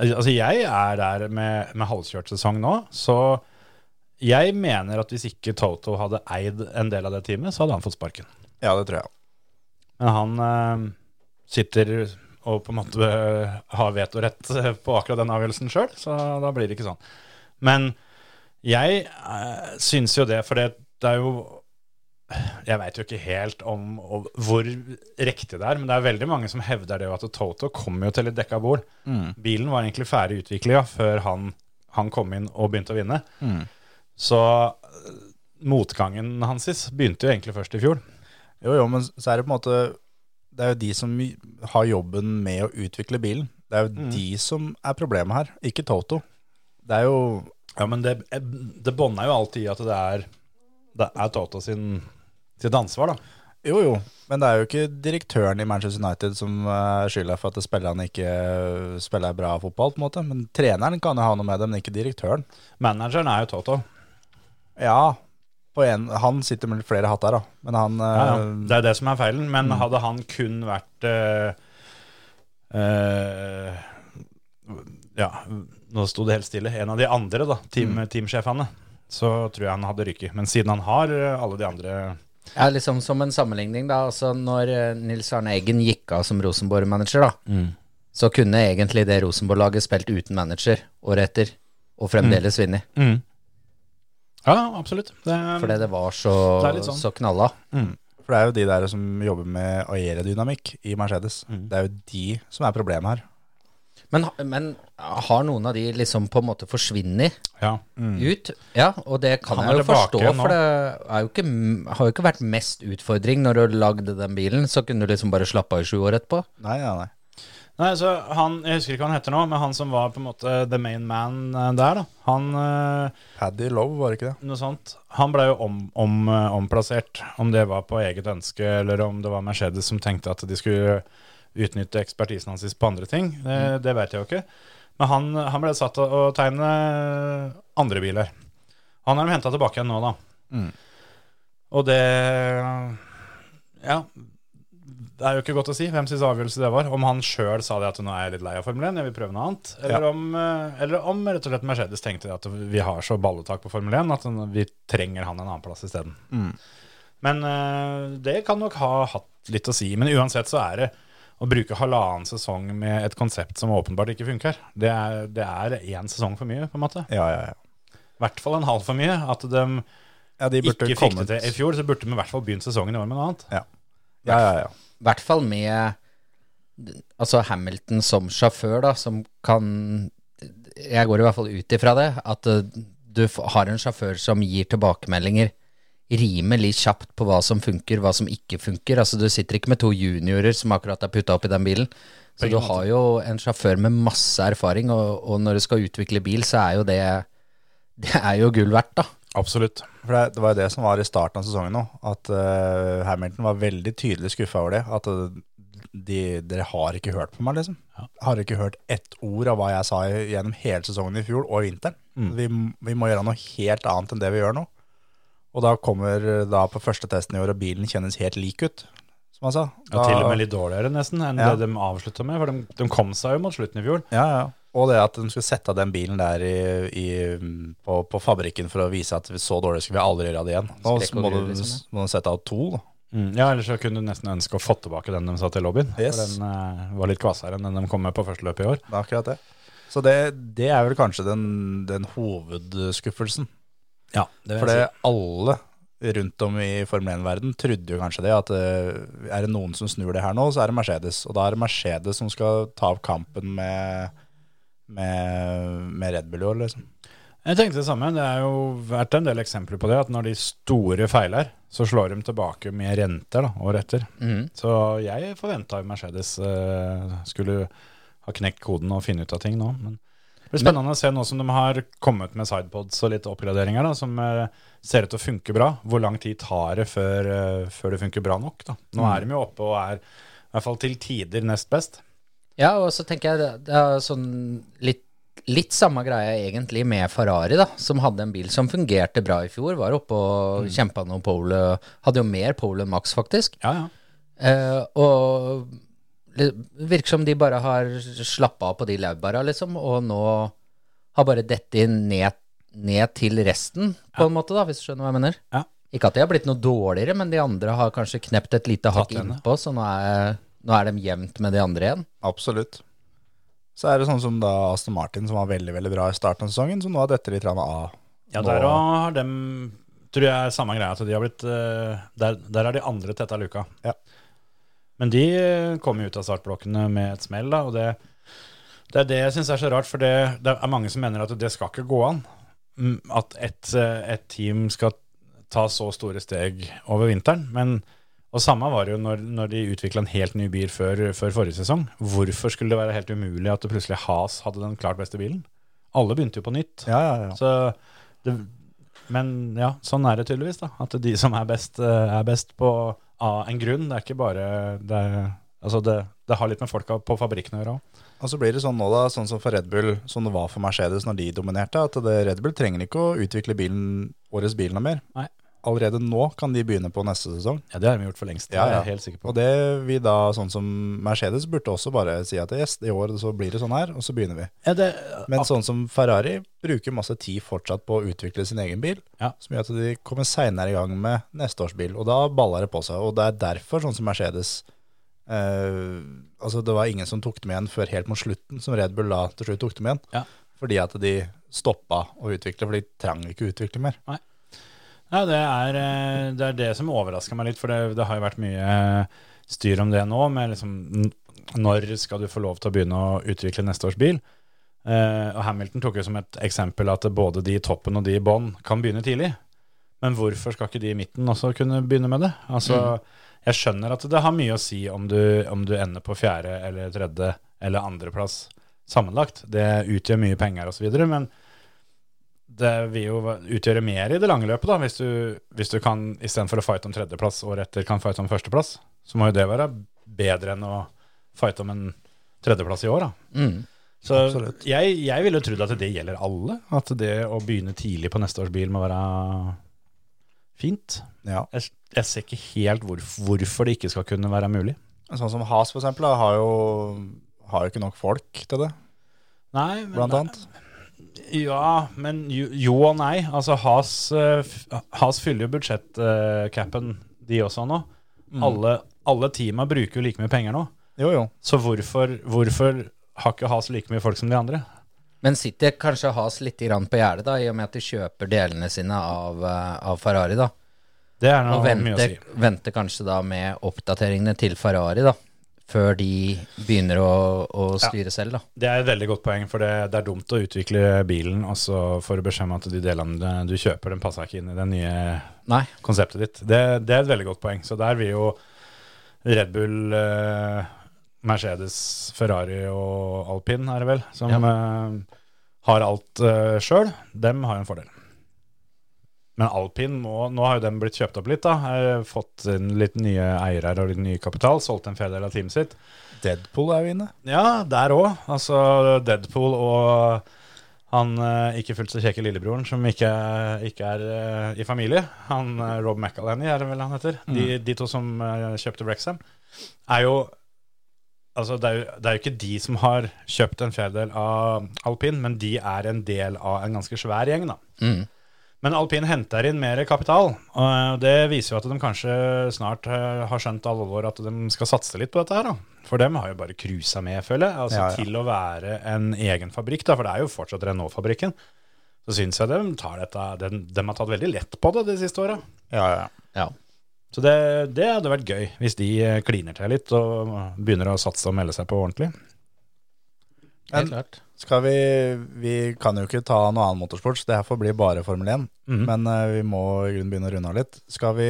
Speaker 2: altså jeg er der med, med halvkjørt sesong nå, så jeg mener at hvis ikke Toto hadde eid en del av det teamet, så hadde han fått sparken.
Speaker 1: Ja, det tror jeg.
Speaker 2: Men han eh, sitter og på en måte eh, har vetorett eh, på akkurat den avgjørelsen sjøl, så da blir det ikke sånn. Men jeg eh, syns jo det, for det, det er jo Jeg veit jo ikke helt om og hvor riktig det er, men det er veldig mange som hevder det jo at Toto kom jo til et dekka bord. Bilen var egentlig ferdig utvikla før han, han kom inn og begynte å vinne. Så eh, motgangen hans begynte jo egentlig først i fjor.
Speaker 1: Jo, jo, men så er det på en måte Det er jo de som har jobben med å utvikle bilen. Det er jo
Speaker 2: Mm.
Speaker 1: de som er problemet her, ikke Toto. Det er jo
Speaker 2: Ja, men det, eh, det bånder jo alltid i at det er, det er Toto sin, sitt ansvar, da.
Speaker 1: Jo, jo, men det er jo ikke direktøren i Manchester United som er skylda for at spillerne ikke eh, spiller bra fotball, på en måte. Men treneren kan jo ha noe med det, men ikke direktøren.
Speaker 2: Manageren er jo Toto.
Speaker 1: Ja, på en, han sitter med flere hatter, da. Men han
Speaker 2: Ja, ja.
Speaker 1: eh,
Speaker 2: Det er det som er feilen. Men hadde han kun vært eh, eh, Ja, nå sto det helt stille. En av de andre da, team, teamsjefene. Så tror jeg han hadde ryket. Men siden han har eh, alle de andre
Speaker 3: Ja, liksom Som en sammenligning, da. Altså når eh, Nils Arne Eggen gikk av som Rosenborg-manager, da,
Speaker 2: Mm.
Speaker 3: så kunne egentlig det Rosenborg-laget spilt uten manager året etter, og fremdeles
Speaker 2: Mm.
Speaker 3: vinne.
Speaker 2: Ja, absolutt. Det,
Speaker 3: Fordi det var så,
Speaker 2: Det er litt sånn.
Speaker 3: så knalla.
Speaker 1: For det er jo de der som jobber med aerodynamikk i Mercedes.
Speaker 2: Mm.
Speaker 1: Det er jo de som er problemet her.
Speaker 3: Men, ha- men har noen av de liksom på en måte forsvunnet
Speaker 2: ja.
Speaker 3: ut? Ja, og det kan
Speaker 2: Mm. Han
Speaker 3: jeg
Speaker 2: er
Speaker 3: jo forstå,
Speaker 2: tilbake nå.
Speaker 3: for det er jo ikke, m- har jo ikke vært mest utfordring når du har lagd den bilen, så kunne du liksom bare slappe av i sju år etterpå.
Speaker 1: Nei, nei, nei.
Speaker 2: Nei, så han, Jeg husker ikke hva han heter nå, men han som var på en måte the main man eh, der, da. Han eh,
Speaker 1: Paddy Love, var det ikke det?
Speaker 2: noe sånt. Han ble jo om, om, eh, omplassert, om det var på eget ønske, eller om det var Mercedes som tenkte at de skulle utnytte ekspertisen hans på andre ting. Det, det vet jeg jo ikke. Men han, han ble satt til å tegne andre biler. Han har de henta tilbake igjen nå, da. Og det Ja. Det er jo ikke godt å si hvem sin avgjørelse det var. Om han sjøl sa det at nå er jeg litt lei av Formel 1, jeg vil prøve noe annet. Eller,
Speaker 1: Ja.
Speaker 2: om, eh, eller om rett og slett Mercedes tenkte at vi har så balletak på Formel 1 at den- vi trenger han en annen plass isteden. Men eh, det kan nok ha hatt litt å si. Men uansett så er det å bruke halvannen sesong med et konsept som åpenbart ikke funker. Det er, det er én sesong for mye, på en måte.
Speaker 1: Ja, ja, ja.
Speaker 2: I hvert fall en halv for mye. At de
Speaker 1: ja de burde
Speaker 2: ikke fikk
Speaker 1: kommet-
Speaker 2: det til i fjor, så burde de i hvert fall begynt sesongen i år med noe annet.
Speaker 1: Ja, ja, ja. ja.
Speaker 3: I hvert fall med altså Hamilton som sjåfør, da, som kan Jeg går i hvert fall ut ifra det, at eh, du f- har en sjåfør som gir tilbakemeldinger rimelig kjapt på hva som funker, hva som ikke funker. Altså Du sitter ikke med to juniorer som akkurat er putta opp i den bilen. Så du har jo en sjåfør med masse erfaring, og, og når du skal utvikle bil, så er jo det Det er jo gull verdt, da.
Speaker 2: Absolutt.
Speaker 1: For det, det var jo det som var i starten av sesongen nå, at eh, Hamilton var veldig tydelig skuffa over det. At eh, de, dere har ikke hørt på meg, liksom. Har ikke hørt ett ord av hva jeg sa i- gjennom hele sesongen i fjor og vinteren.
Speaker 2: Mm.
Speaker 1: Vi, m- vi må gjøre noe helt annet enn det vi gjør nå. Og da kommer eh, da på første testen i år, og bilen kjennes helt lik ut, som han sa.
Speaker 2: Ja,
Speaker 1: Da-
Speaker 2: til og med litt dårligere nesten enn
Speaker 1: Ja.
Speaker 2: det de avslutta med. For de, de kom seg jo mot slutten i fjor.
Speaker 1: Ja, ja. Og det at de skulle sette av den bilen der i, i, på, på fabrikken for å vise at så dårlig skulle vi aldri gjøre det igjen. Nå
Speaker 3: Skrekk og
Speaker 1: må
Speaker 3: gru,
Speaker 1: du,
Speaker 3: liksom,
Speaker 1: må du sette av to, da.
Speaker 2: Ja, Ellers så kunne du nesten ønske å få tilbake den de satt i lobbyen. For
Speaker 1: Mm. Yes.
Speaker 2: den eh, var litt kvassere enn den de kom med på første løpet i år.
Speaker 1: Det er akkurat det. Så det, det er vel kanskje den, den hovedskuffelsen.
Speaker 2: Ja, det
Speaker 1: For det alle rundt om i Formel 1-verden trodde jo kanskje det, at eh, er det noen som snur det her nå, så er det Mercedes. Og da er det Mercedes som skal ta opp kampen med, med, med Red Bull i år, liksom.
Speaker 2: Jeg tenkte det samme. Det er jo vært en del eksempler på det. At når de store feiler, så slår de tilbake med renter da, året etter.
Speaker 3: Mhm.
Speaker 2: Så jeg forventa Mercedes eh, skulle ha knekt koden og finne ut av ting nå. Men det blir spennende å se nå som de har kommet med sidepods og litt oppgraderinger, da, som eh, ser ut til å funke bra. Hvor lang tid tar det før, eh, før det funker bra nok? da? Nå er de jo oppe og er i hvert fall til tider nest best.
Speaker 3: Ja, og så tenker jeg det- det er sånn litt, litt samme greia egentlig med Ferrari, da, som hadde en bil som fungerte bra i fjor. Var oppe og kjempa noe pole. Hadde jo mer pole enn Max, faktisk.
Speaker 2: Ja, ja.
Speaker 3: Eh, og det virker som de bare har slappa av på de laurbæra, liksom, og nå har bare dette ned, ned til resten, på en måte, da, hvis du skjønner hva jeg mener.
Speaker 2: Ja.
Speaker 3: Ikke at de har blitt noe dårligere, men de andre har kanskje knept et lite hakk
Speaker 2: henne.
Speaker 3: innpå, så nå er, nå er de jevnt med de andre igjen.
Speaker 1: Absolutt. Så er det sånn som da Aston Martin, som var veldig veldig bra i starten av sesongen, som nå har dette litt grann av.
Speaker 2: Ja,
Speaker 1: Nå-
Speaker 2: der også har dem tror jeg er samme greia. At de har blitt, eh, der, der er de andre tetta luka.
Speaker 1: Ja.
Speaker 2: Men de eh, kom jo ut av startblokkene med et smell, da, og det, det er det jeg syns er så rart. For det, det er mange som mener at det skal ikke gå an. mm, At et, eh, et team skal ta så store steg over vinteren. Men og samme var det jo når, når de utvikla en helt ny bil før, før forrige sesong. Hvorfor skulle det være helt umulig at det plutselig Has hadde den klart beste bilen? Alle begynte jo på nytt.
Speaker 1: Ja, ja, ja.
Speaker 2: Så det, men ja, sånn er det tydeligvis. da, At de som er best, eh, er best på av en grunn. Det er ikke bare Det, er- altså det, det har litt med folka på fabrikken å gjøre òg.
Speaker 1: Og så blir det sånn nå da, sånn som for Red Bull, som det var for Mercedes når de dominerte, at det, Red Bull trenger ikke å utvikle bilen, årets bil noe mer.
Speaker 2: Nei.
Speaker 1: Allerede nå kan de begynne på neste sesong.
Speaker 2: Ja, det har vi gjort for lengst. Det
Speaker 1: Ja,
Speaker 2: er
Speaker 1: ja.
Speaker 2: jeg helt sikker på.
Speaker 1: Og det vi da, sånn som Mercedes, burde også bare si at yes, i år så blir det sånn her, og så begynner vi.
Speaker 2: Ja, det,
Speaker 1: Men sånn som Ferrari bruker masse tid fortsatt på å utvikle sin egen bil,
Speaker 2: Ja.
Speaker 1: som gjør at de kommer seinere i gang med neste års bil, og da baller det på seg. Og det er derfor sånn som Mercedes eh, Altså, det var ingen som tok dem igjen før helt mot slutten, som Red Bull da til slutt tok dem igjen.
Speaker 2: Ja.
Speaker 1: Fordi at de stoppa å utvikle, for de trang ikke å utvikle mer.
Speaker 2: Ja, det er, eh, det er det som overrasker meg litt, for det, det har jo vært mye eh, styr om det nå, med liksom n- når skal du få lov til å begynne å utvikle neste års bil? Eh, og Hamilton tok jo som et eksempel at både de i toppen og de i bånn kan begynne tidlig. Men hvorfor skal ikke de i midten også kunne begynne med det? Altså, Jeg skjønner at det har mye å si om du, om du ender på fjerde eller tredje eller andreplass sammenlagt. Det utgjør mye penger osv., men det vil jo utgjøre mer i det lange løpet, da, hvis du, hvis du kan, istedenfor å fighte om tredjeplass året etter, kan fighte om førsteplass. Så må jo det være bedre enn å fighte om en tredjeplass i år, da.
Speaker 3: Mm.
Speaker 2: Så
Speaker 1: Absolutt.
Speaker 2: jeg, jeg ville jo trodd at det gjelder alle. At det å begynne tidlig på neste års bil må være fint.
Speaker 1: Ja.
Speaker 2: Jeg, jeg ser ikke helt hvor, hvorfor det ikke skal kunne være mulig.
Speaker 1: Sånn som Has, for eksempel, da, har jo, har jo ikke nok folk til det,
Speaker 2: Nei, men,
Speaker 1: blant annet.
Speaker 2: Ja, men jo, jo og nei. Altså, Has, eh, f- Has fyller jo budsjettcapen, eh, de også nå.
Speaker 3: Mm.
Speaker 2: Alle, alle teama bruker jo like mye penger nå.
Speaker 1: Jo, jo.
Speaker 2: Så hvorfor, hvorfor har ikke Has like mye folk som de andre?
Speaker 3: Men City kanskje has litt grann på gjerdet, da, i og med at de kjøper delene sine av, eh, av Ferrari, da.
Speaker 2: Det er
Speaker 3: Og
Speaker 2: noe mye å
Speaker 3: venter,
Speaker 2: si.
Speaker 3: venter kanskje da med oppdateringene til Ferrari, da. Før de begynner å, å styre selv, da.
Speaker 2: Det er et veldig godt poeng, for det, det er dumt å utvikle bilen, og så får du beskjed om at de delene du kjøper, den passer ikke inn i det nye
Speaker 3: Nei.
Speaker 2: konseptet ditt. Det, det er et veldig godt poeng. Så der vil jo Red Bull, eh, Mercedes, Ferrari og Alpin, er det vel, som eh, har alt eh, sjøl, dem har jo en fordel. Men Alpin, må, nå har jo dem blitt kjøpt opp litt, da. Har fått inn litt nye eiere og litt ny kapital. Solgt en fjerdedel av teamet sitt.
Speaker 1: Deadpool er jo inne.
Speaker 2: Ja, der òg. Altså Deadpool og han eh, ikke fullt så kjekke lillebroren som ikke, ikke er eh, i familie. Han eh, Rob McAlenny er det vel han heter. De, de to som eh, kjøpte Wrexham, er jo Altså, det er, jo, det er jo ikke de som har kjøpt en fjerdedel av alpin, men de er en del av en ganske svær gjeng, da.
Speaker 3: Mm.
Speaker 2: Men alpin henter inn mer kapital, og det viser jo at de kanskje snart eh, har skjønt alvor at de skal satse litt på dette her. da. For dem har jo bare cruisa med, føler jeg. Altså
Speaker 1: Ja, ja.
Speaker 2: Til å være en egen fabrikk, da, for det er jo fortsatt Renault-fabrikken. Så syns jeg de, tar dette, de, de har tatt veldig lett på det de siste åra.
Speaker 1: Ja, ja, ja.
Speaker 3: Ja.
Speaker 2: Så det, det hadde vært gøy hvis de eh, kliner til litt og begynner å satse og melde seg på ordentlig.
Speaker 1: Men-
Speaker 3: Helt klart.
Speaker 1: Skal vi, vi kan jo ikke ta noe annen motorsport, så det her får bli bare Formel 1.
Speaker 2: Mhm.
Speaker 1: Men eh, vi må i grunnen begynne å runde av litt. Skal vi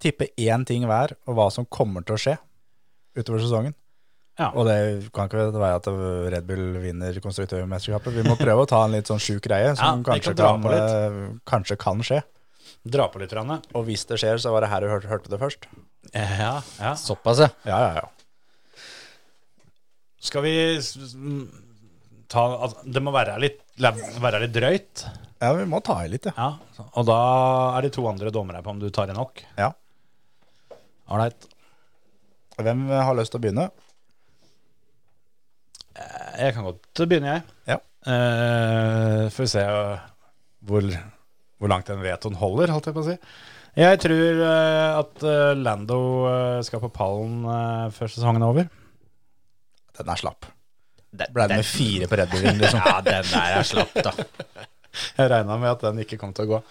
Speaker 1: tippe én ting hver, og hva som kommer til å skje utover sesongen?
Speaker 2: Ja.
Speaker 1: Og det kan ikke være at Red Bull vinner konstruktørmesterskapet. Vi må prøve å ta en litt sånn sjuk greie som
Speaker 2: Ja, vi
Speaker 1: kanskje,
Speaker 2: kan dra
Speaker 1: kan,
Speaker 2: på
Speaker 1: eh, kanskje kan skje.
Speaker 2: Dra på litt. Rane.
Speaker 1: Og hvis det skjer, så var det her du hørte, hørte det først.
Speaker 2: Ja, ja.
Speaker 3: Såpass, ja.
Speaker 1: Ja, ja, ja.
Speaker 2: Skal vi s- s- m- ta altså, Det må være litt, la- være litt drøyt.
Speaker 1: Ja, Vi må ta i litt, ja.
Speaker 2: Ja. Og da er det to andre dommere på om du tar i nok.
Speaker 1: ja.
Speaker 2: Ålreit.
Speaker 1: Hvem har lyst til å begynne?
Speaker 2: Jeg kan godt begynne, jeg.
Speaker 1: Ja.
Speaker 2: Eh, får vi se eh, hvor, hvor langt den vetoen holder, holdt jeg på å si. Jeg tror eh, at eh, Lando eh, skal på pallen eh, før sesongen er over.
Speaker 1: Den er slapp. Ble det med fire på Red Bullen, liksom?
Speaker 3: Ja, den der er slapp, da.
Speaker 2: Jeg regna med at den ikke kom til å gå.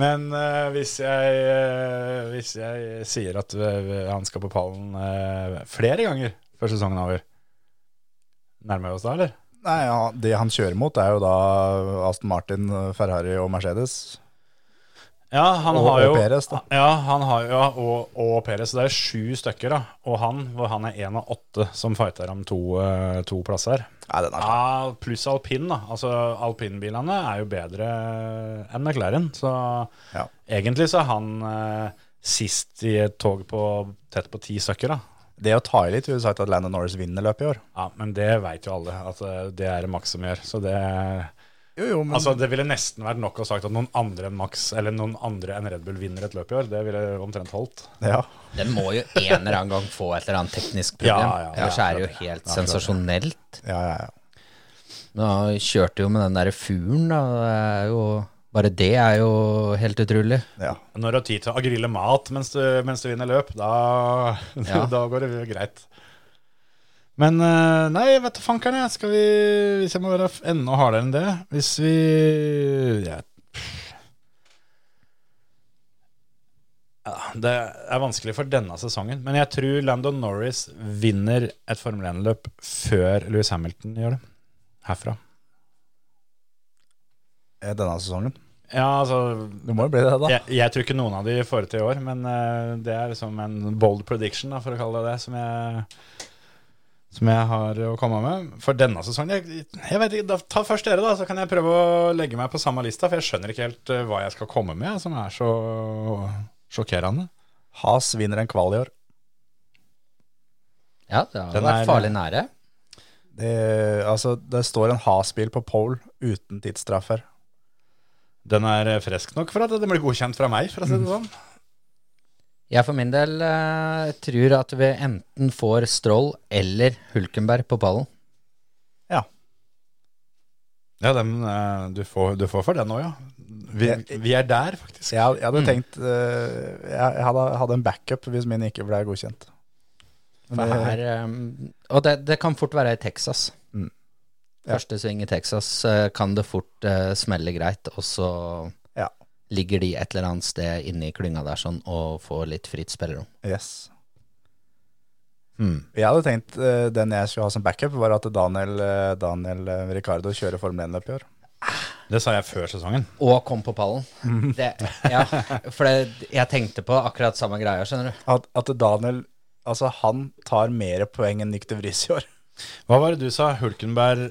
Speaker 2: Men eh, hvis, jeg, eh, hvis jeg sier at eh, han skal på pallen eh, flere ganger før sesongen er over Nærmer vi oss da, eller?
Speaker 1: Nei, ja, Det han kjører mot, er jo da Aston Martin, Ferrari og Mercedes.
Speaker 2: Ja, han
Speaker 1: Og-
Speaker 2: har jo
Speaker 1: og Perez, da.
Speaker 2: Ja, han har jo, ja, og, og Perez. Det er sju stykker, da. Og han, hvor han er én av åtte som fighter om to, eh, to plasser.
Speaker 1: Nei, den er slapp.
Speaker 2: Ja, pluss alpin, da. Altså, alpinbilene er jo bedre enn McLaren. Så
Speaker 1: Ja.
Speaker 2: egentlig så er han eh, sist i et tog på tett på ti stykker, da.
Speaker 1: Det å ta i litt ville sagt at Landon Norris vinner løpet i år.
Speaker 2: Ja, men det veit jo alle at eh, det er det Max som gjør. Så det
Speaker 1: Jo, jo, men
Speaker 2: Altså, det ville nesten vært nok å sagt at noen andre enn Max, eller noen andre enn Red Bull vinner et løp i år. Det ville omtrent holdt.
Speaker 1: ja.
Speaker 3: Den må jo en eller annen gang få et eller annet teknisk problem.
Speaker 2: Ja, ja, ja.
Speaker 3: Ellers er det jo helt sensasjonelt.
Speaker 1: Ja, ja, ja.
Speaker 3: Men han kjørte jo med den derre fuglen, da. Det er jo, bare det er jo helt utrolig.
Speaker 1: ja.
Speaker 2: Når du har tid til å grille mat mens du, mens du vinner løp, da,
Speaker 3: Ja.
Speaker 2: da går det greit. Men eh, nei, vet du fankeren, jeg. Skal vi Hvis jeg må være f- enda hardere enn det Hvis vi ja. Ja, Det er vanskelig for denne sesongen, men jeg tror Landon Norris vinner et Formel 1-løp før Louis Hamilton gjør det. Herfra.
Speaker 1: Eh, Denne sesongen.
Speaker 2: Ja, altså
Speaker 1: Det må jo bli det, da.
Speaker 2: jeg, jeg tror ikke noen av de får det til i år, men eh, det er liksom en bold prediction, da, for å kalle det det, som jeg, som jeg har å komme med. For denne sesongen jeg, jeg vet ikke, da, Ta først dere, da, så kan jeg prøve å legge meg på samme lista, for jeg skjønner ikke helt eh, hva jeg skal komme med, som er så sjokkerende.
Speaker 1: Has vinner en kval i år.
Speaker 3: Ja, det har
Speaker 2: Den
Speaker 3: vært
Speaker 2: er-
Speaker 3: farlig nære.
Speaker 1: Det, altså, det står en Has-bil på pole uten tidsstraffer.
Speaker 2: Den er eh, frisk nok for at den blir godkjent fra meg, for å si
Speaker 1: Mm.
Speaker 2: det sånn.
Speaker 3: Jeg for min del eh, tror at vi enten får Stroll eller Hulkenberg på pallen.
Speaker 2: Ja, den, eh, du, får, du får for den òg, ja. Vi, vi er der, faktisk.
Speaker 1: Jeg, jeg hadde tenkt eh, Jeg, jeg hadde, hadde en backup hvis min ikke ble godkjent. Men
Speaker 3: For
Speaker 1: det-
Speaker 3: her, eh, og det, det kan fort være i Texas.
Speaker 1: Mm. Ja.
Speaker 3: Første sving i Texas eh, kan det fort eh, smelle greit, og så
Speaker 1: Ja.
Speaker 3: ligger de et eller annet sted inne i klynga der sånn og får litt fritt spillerom.
Speaker 1: Yes. Jeg hadde tenkt eh, den jeg skulle ha som backup, var at Daniel, eh, Daniel eh, Ricardo kjører Formel 1-løp i år.
Speaker 2: Det sa jeg før sesongen.
Speaker 3: Og kom på pallen.
Speaker 1: Mm.
Speaker 3: Det, ja, for det, jeg tenkte på akkurat samme greia, skjønner du.
Speaker 1: At, at Daniel Altså, han tar mer poeng enn Nick de Vries i år.
Speaker 2: Hva var det du sa? Hulkenberg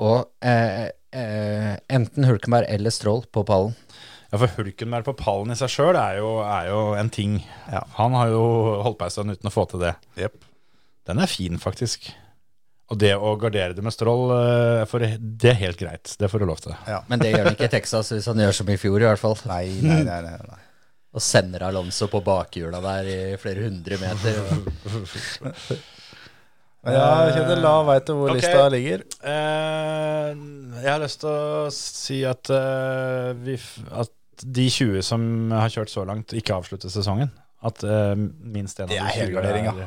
Speaker 3: Og eh, eh, enten Hulkenberg eller Stroll på pallen.
Speaker 2: Ja, for Hulkenberg på pallen i seg sjøl er, jo- er jo en ting. Han har jo holdt på en stund uten å få til det. Den er fin, faktisk. Og det å gardere det med strål, eh, for det er helt greit. Det får du lov til.
Speaker 3: Men det gjør han ikke i Texas hvis han gjør som i fjor, i hvert fall.
Speaker 1: Nei, nei, nei. nei, nei.
Speaker 3: Og sender Alonso på bakhjula der i flere hundre meter.
Speaker 1: Men ja, Kjetil, da veit du hvor
Speaker 2: Eh, Ok.
Speaker 1: lista ligger.
Speaker 2: Eh, jeg har lyst til å si at, eh, vi, f- at de 20 som har kjørt så langt, ikke avslutter sesongen. At eh, minst en av de
Speaker 1: Det
Speaker 2: 20
Speaker 1: er helgardering, ja.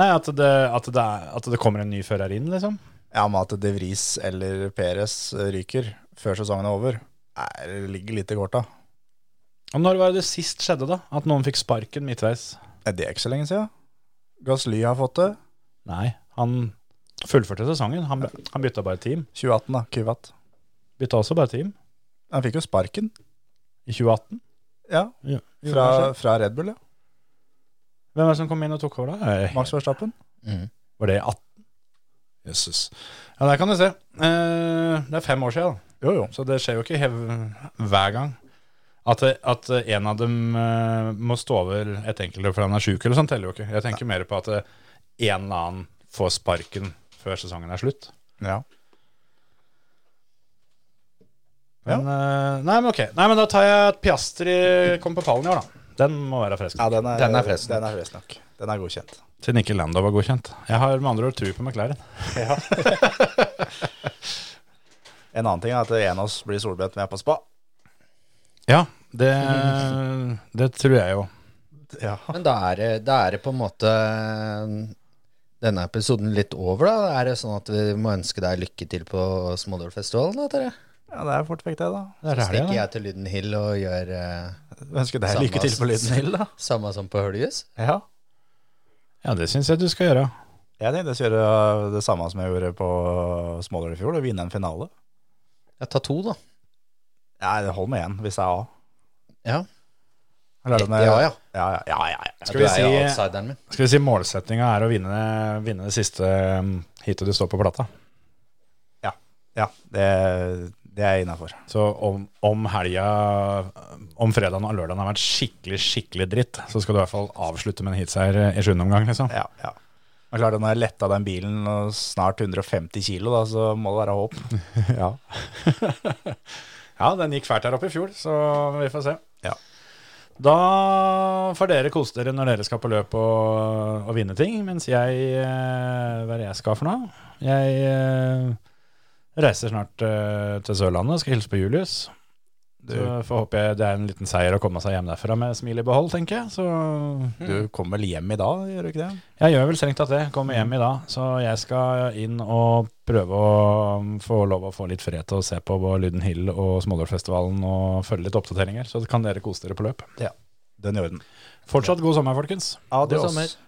Speaker 2: Nei, at det, at, det er, at det kommer en ny fører inn, liksom.
Speaker 1: Ja, med at de Vries eller Peres ryker før sesongen er over, er, ligger litt i korta.
Speaker 2: Og når var det det sist skjedde, da? At noen fikk sparken midtveis?
Speaker 1: Er det ikke så lenge siden? Gasly har fått det.
Speaker 2: Nei, han Fullførte sesongen. Han, han bytta bare team.
Speaker 1: 2018, da. Kyvat.
Speaker 2: Bytta også bare team
Speaker 1: Han fikk jo sparken.
Speaker 2: i 2018.
Speaker 1: Ja,
Speaker 2: Ja.
Speaker 1: fra, fra Red Bull, ja.
Speaker 2: Hvem er det som kom inn og tok over da? Eh,
Speaker 1: Max Verstappen.
Speaker 2: Var det i 18? Jøsses. Ja, der kan du se. Eh, det er fem år siden, da.
Speaker 1: Jo, jo.
Speaker 2: så det skjer jo ikke hev hver gang. At, det- at en av dem eh, må stå over et enkeltløp fordi han er sjuk eller sånn, teller jo ikke. Jeg tenker mer på at eh, en eller annen får sparken før sesongen er slutt.
Speaker 1: Ja.
Speaker 2: Men, eh, nei, men ok. Nei, men da tar jeg at Piastri kommer på pallen i år, da. Den må være frisk.
Speaker 1: ja den, er,
Speaker 3: Den er fresk
Speaker 1: den er fresk nok. Den er godkjent.
Speaker 2: Siden ikke Lando var godkjent. Jeg har med andre ord tru på McLaren.
Speaker 1: En annen ting er at en av oss blir solbrent med på spa.
Speaker 2: Ja, det, det tror jeg jo.
Speaker 1: Ja.
Speaker 3: Men da er, det- da er det på en måte eh, denne episoden litt over, da? Er det sånn at vi må ønske deg lykke til på Smådølfestivalen? da, Tere?
Speaker 1: ja, det er fort vekk, det, da.
Speaker 2: Der
Speaker 3: Så
Speaker 2: er det,
Speaker 3: stikker
Speaker 2: ja.
Speaker 3: jeg til Lyden Hill og gjør eh,
Speaker 1: Jeg ønsker deg
Speaker 3: Samme
Speaker 1: lykke til på
Speaker 3: oss.
Speaker 1: Lyden Hill, da.
Speaker 3: samme som på Høljes.
Speaker 1: Ja.
Speaker 2: ja, det syns jeg du skal gjøre.
Speaker 1: Jeg tenkte jeg skulle gjøre det samme som jeg gjorde på Småler i fjor, og vinne en finale.
Speaker 3: Ja, ta to, da.
Speaker 1: Nei, det holder med én, hvis det er A.
Speaker 3: Ja,
Speaker 1: Eller er det med-
Speaker 3: Ja, ja.
Speaker 1: Ja, ja, ja, ja, ja.
Speaker 2: Skal vi
Speaker 3: du er jo
Speaker 2: si-
Speaker 3: outsideren min.
Speaker 2: Skal vi si målsettinga er å vinne, vinne det siste um, heatet du står på plata.
Speaker 1: ja. ja det, det er jeg innafor.
Speaker 2: Så om, om helga Om fredagen og lørdagen har vært skikkelig, skikkelig dritt, så skal du i hvert fall avslutte med en heatseier i sjuende omgang, liksom.
Speaker 1: Ja, ja. Men klart, når jeg letta den bilen og snart 150 kilo, da, så må det være håp.
Speaker 2: Ja. ja, den gikk fælt her oppe i fjor, så vi får se.
Speaker 1: Ja.
Speaker 2: Da får dere kose dere når dere skal på løp og, og vinne ting, mens jeg eh, Hva er det jeg skal for noe? Jeg eh, reiser snart eh, til Sørlandet og skal hilse på Julius.
Speaker 1: Du,
Speaker 2: Så får håpe jeg det er en liten seier å komme seg hjem derfra med smil i behold, tenker jeg. Så
Speaker 1: du kommer vel hjem i dag, gjør du ikke det?
Speaker 2: jeg gjør vel strengt tatt det. Kommer hjem i dag. Så jeg skal inn og prøve å um, få lov å få litt fred til å se på både Lyden Hill og Smådalsfestivalen og følge litt oppdateringer. Så kan dere kose dere på løp.
Speaker 1: Den i orden.
Speaker 2: Fortsatt god sommer, folkens.
Speaker 1: Ja,
Speaker 3: God sommer.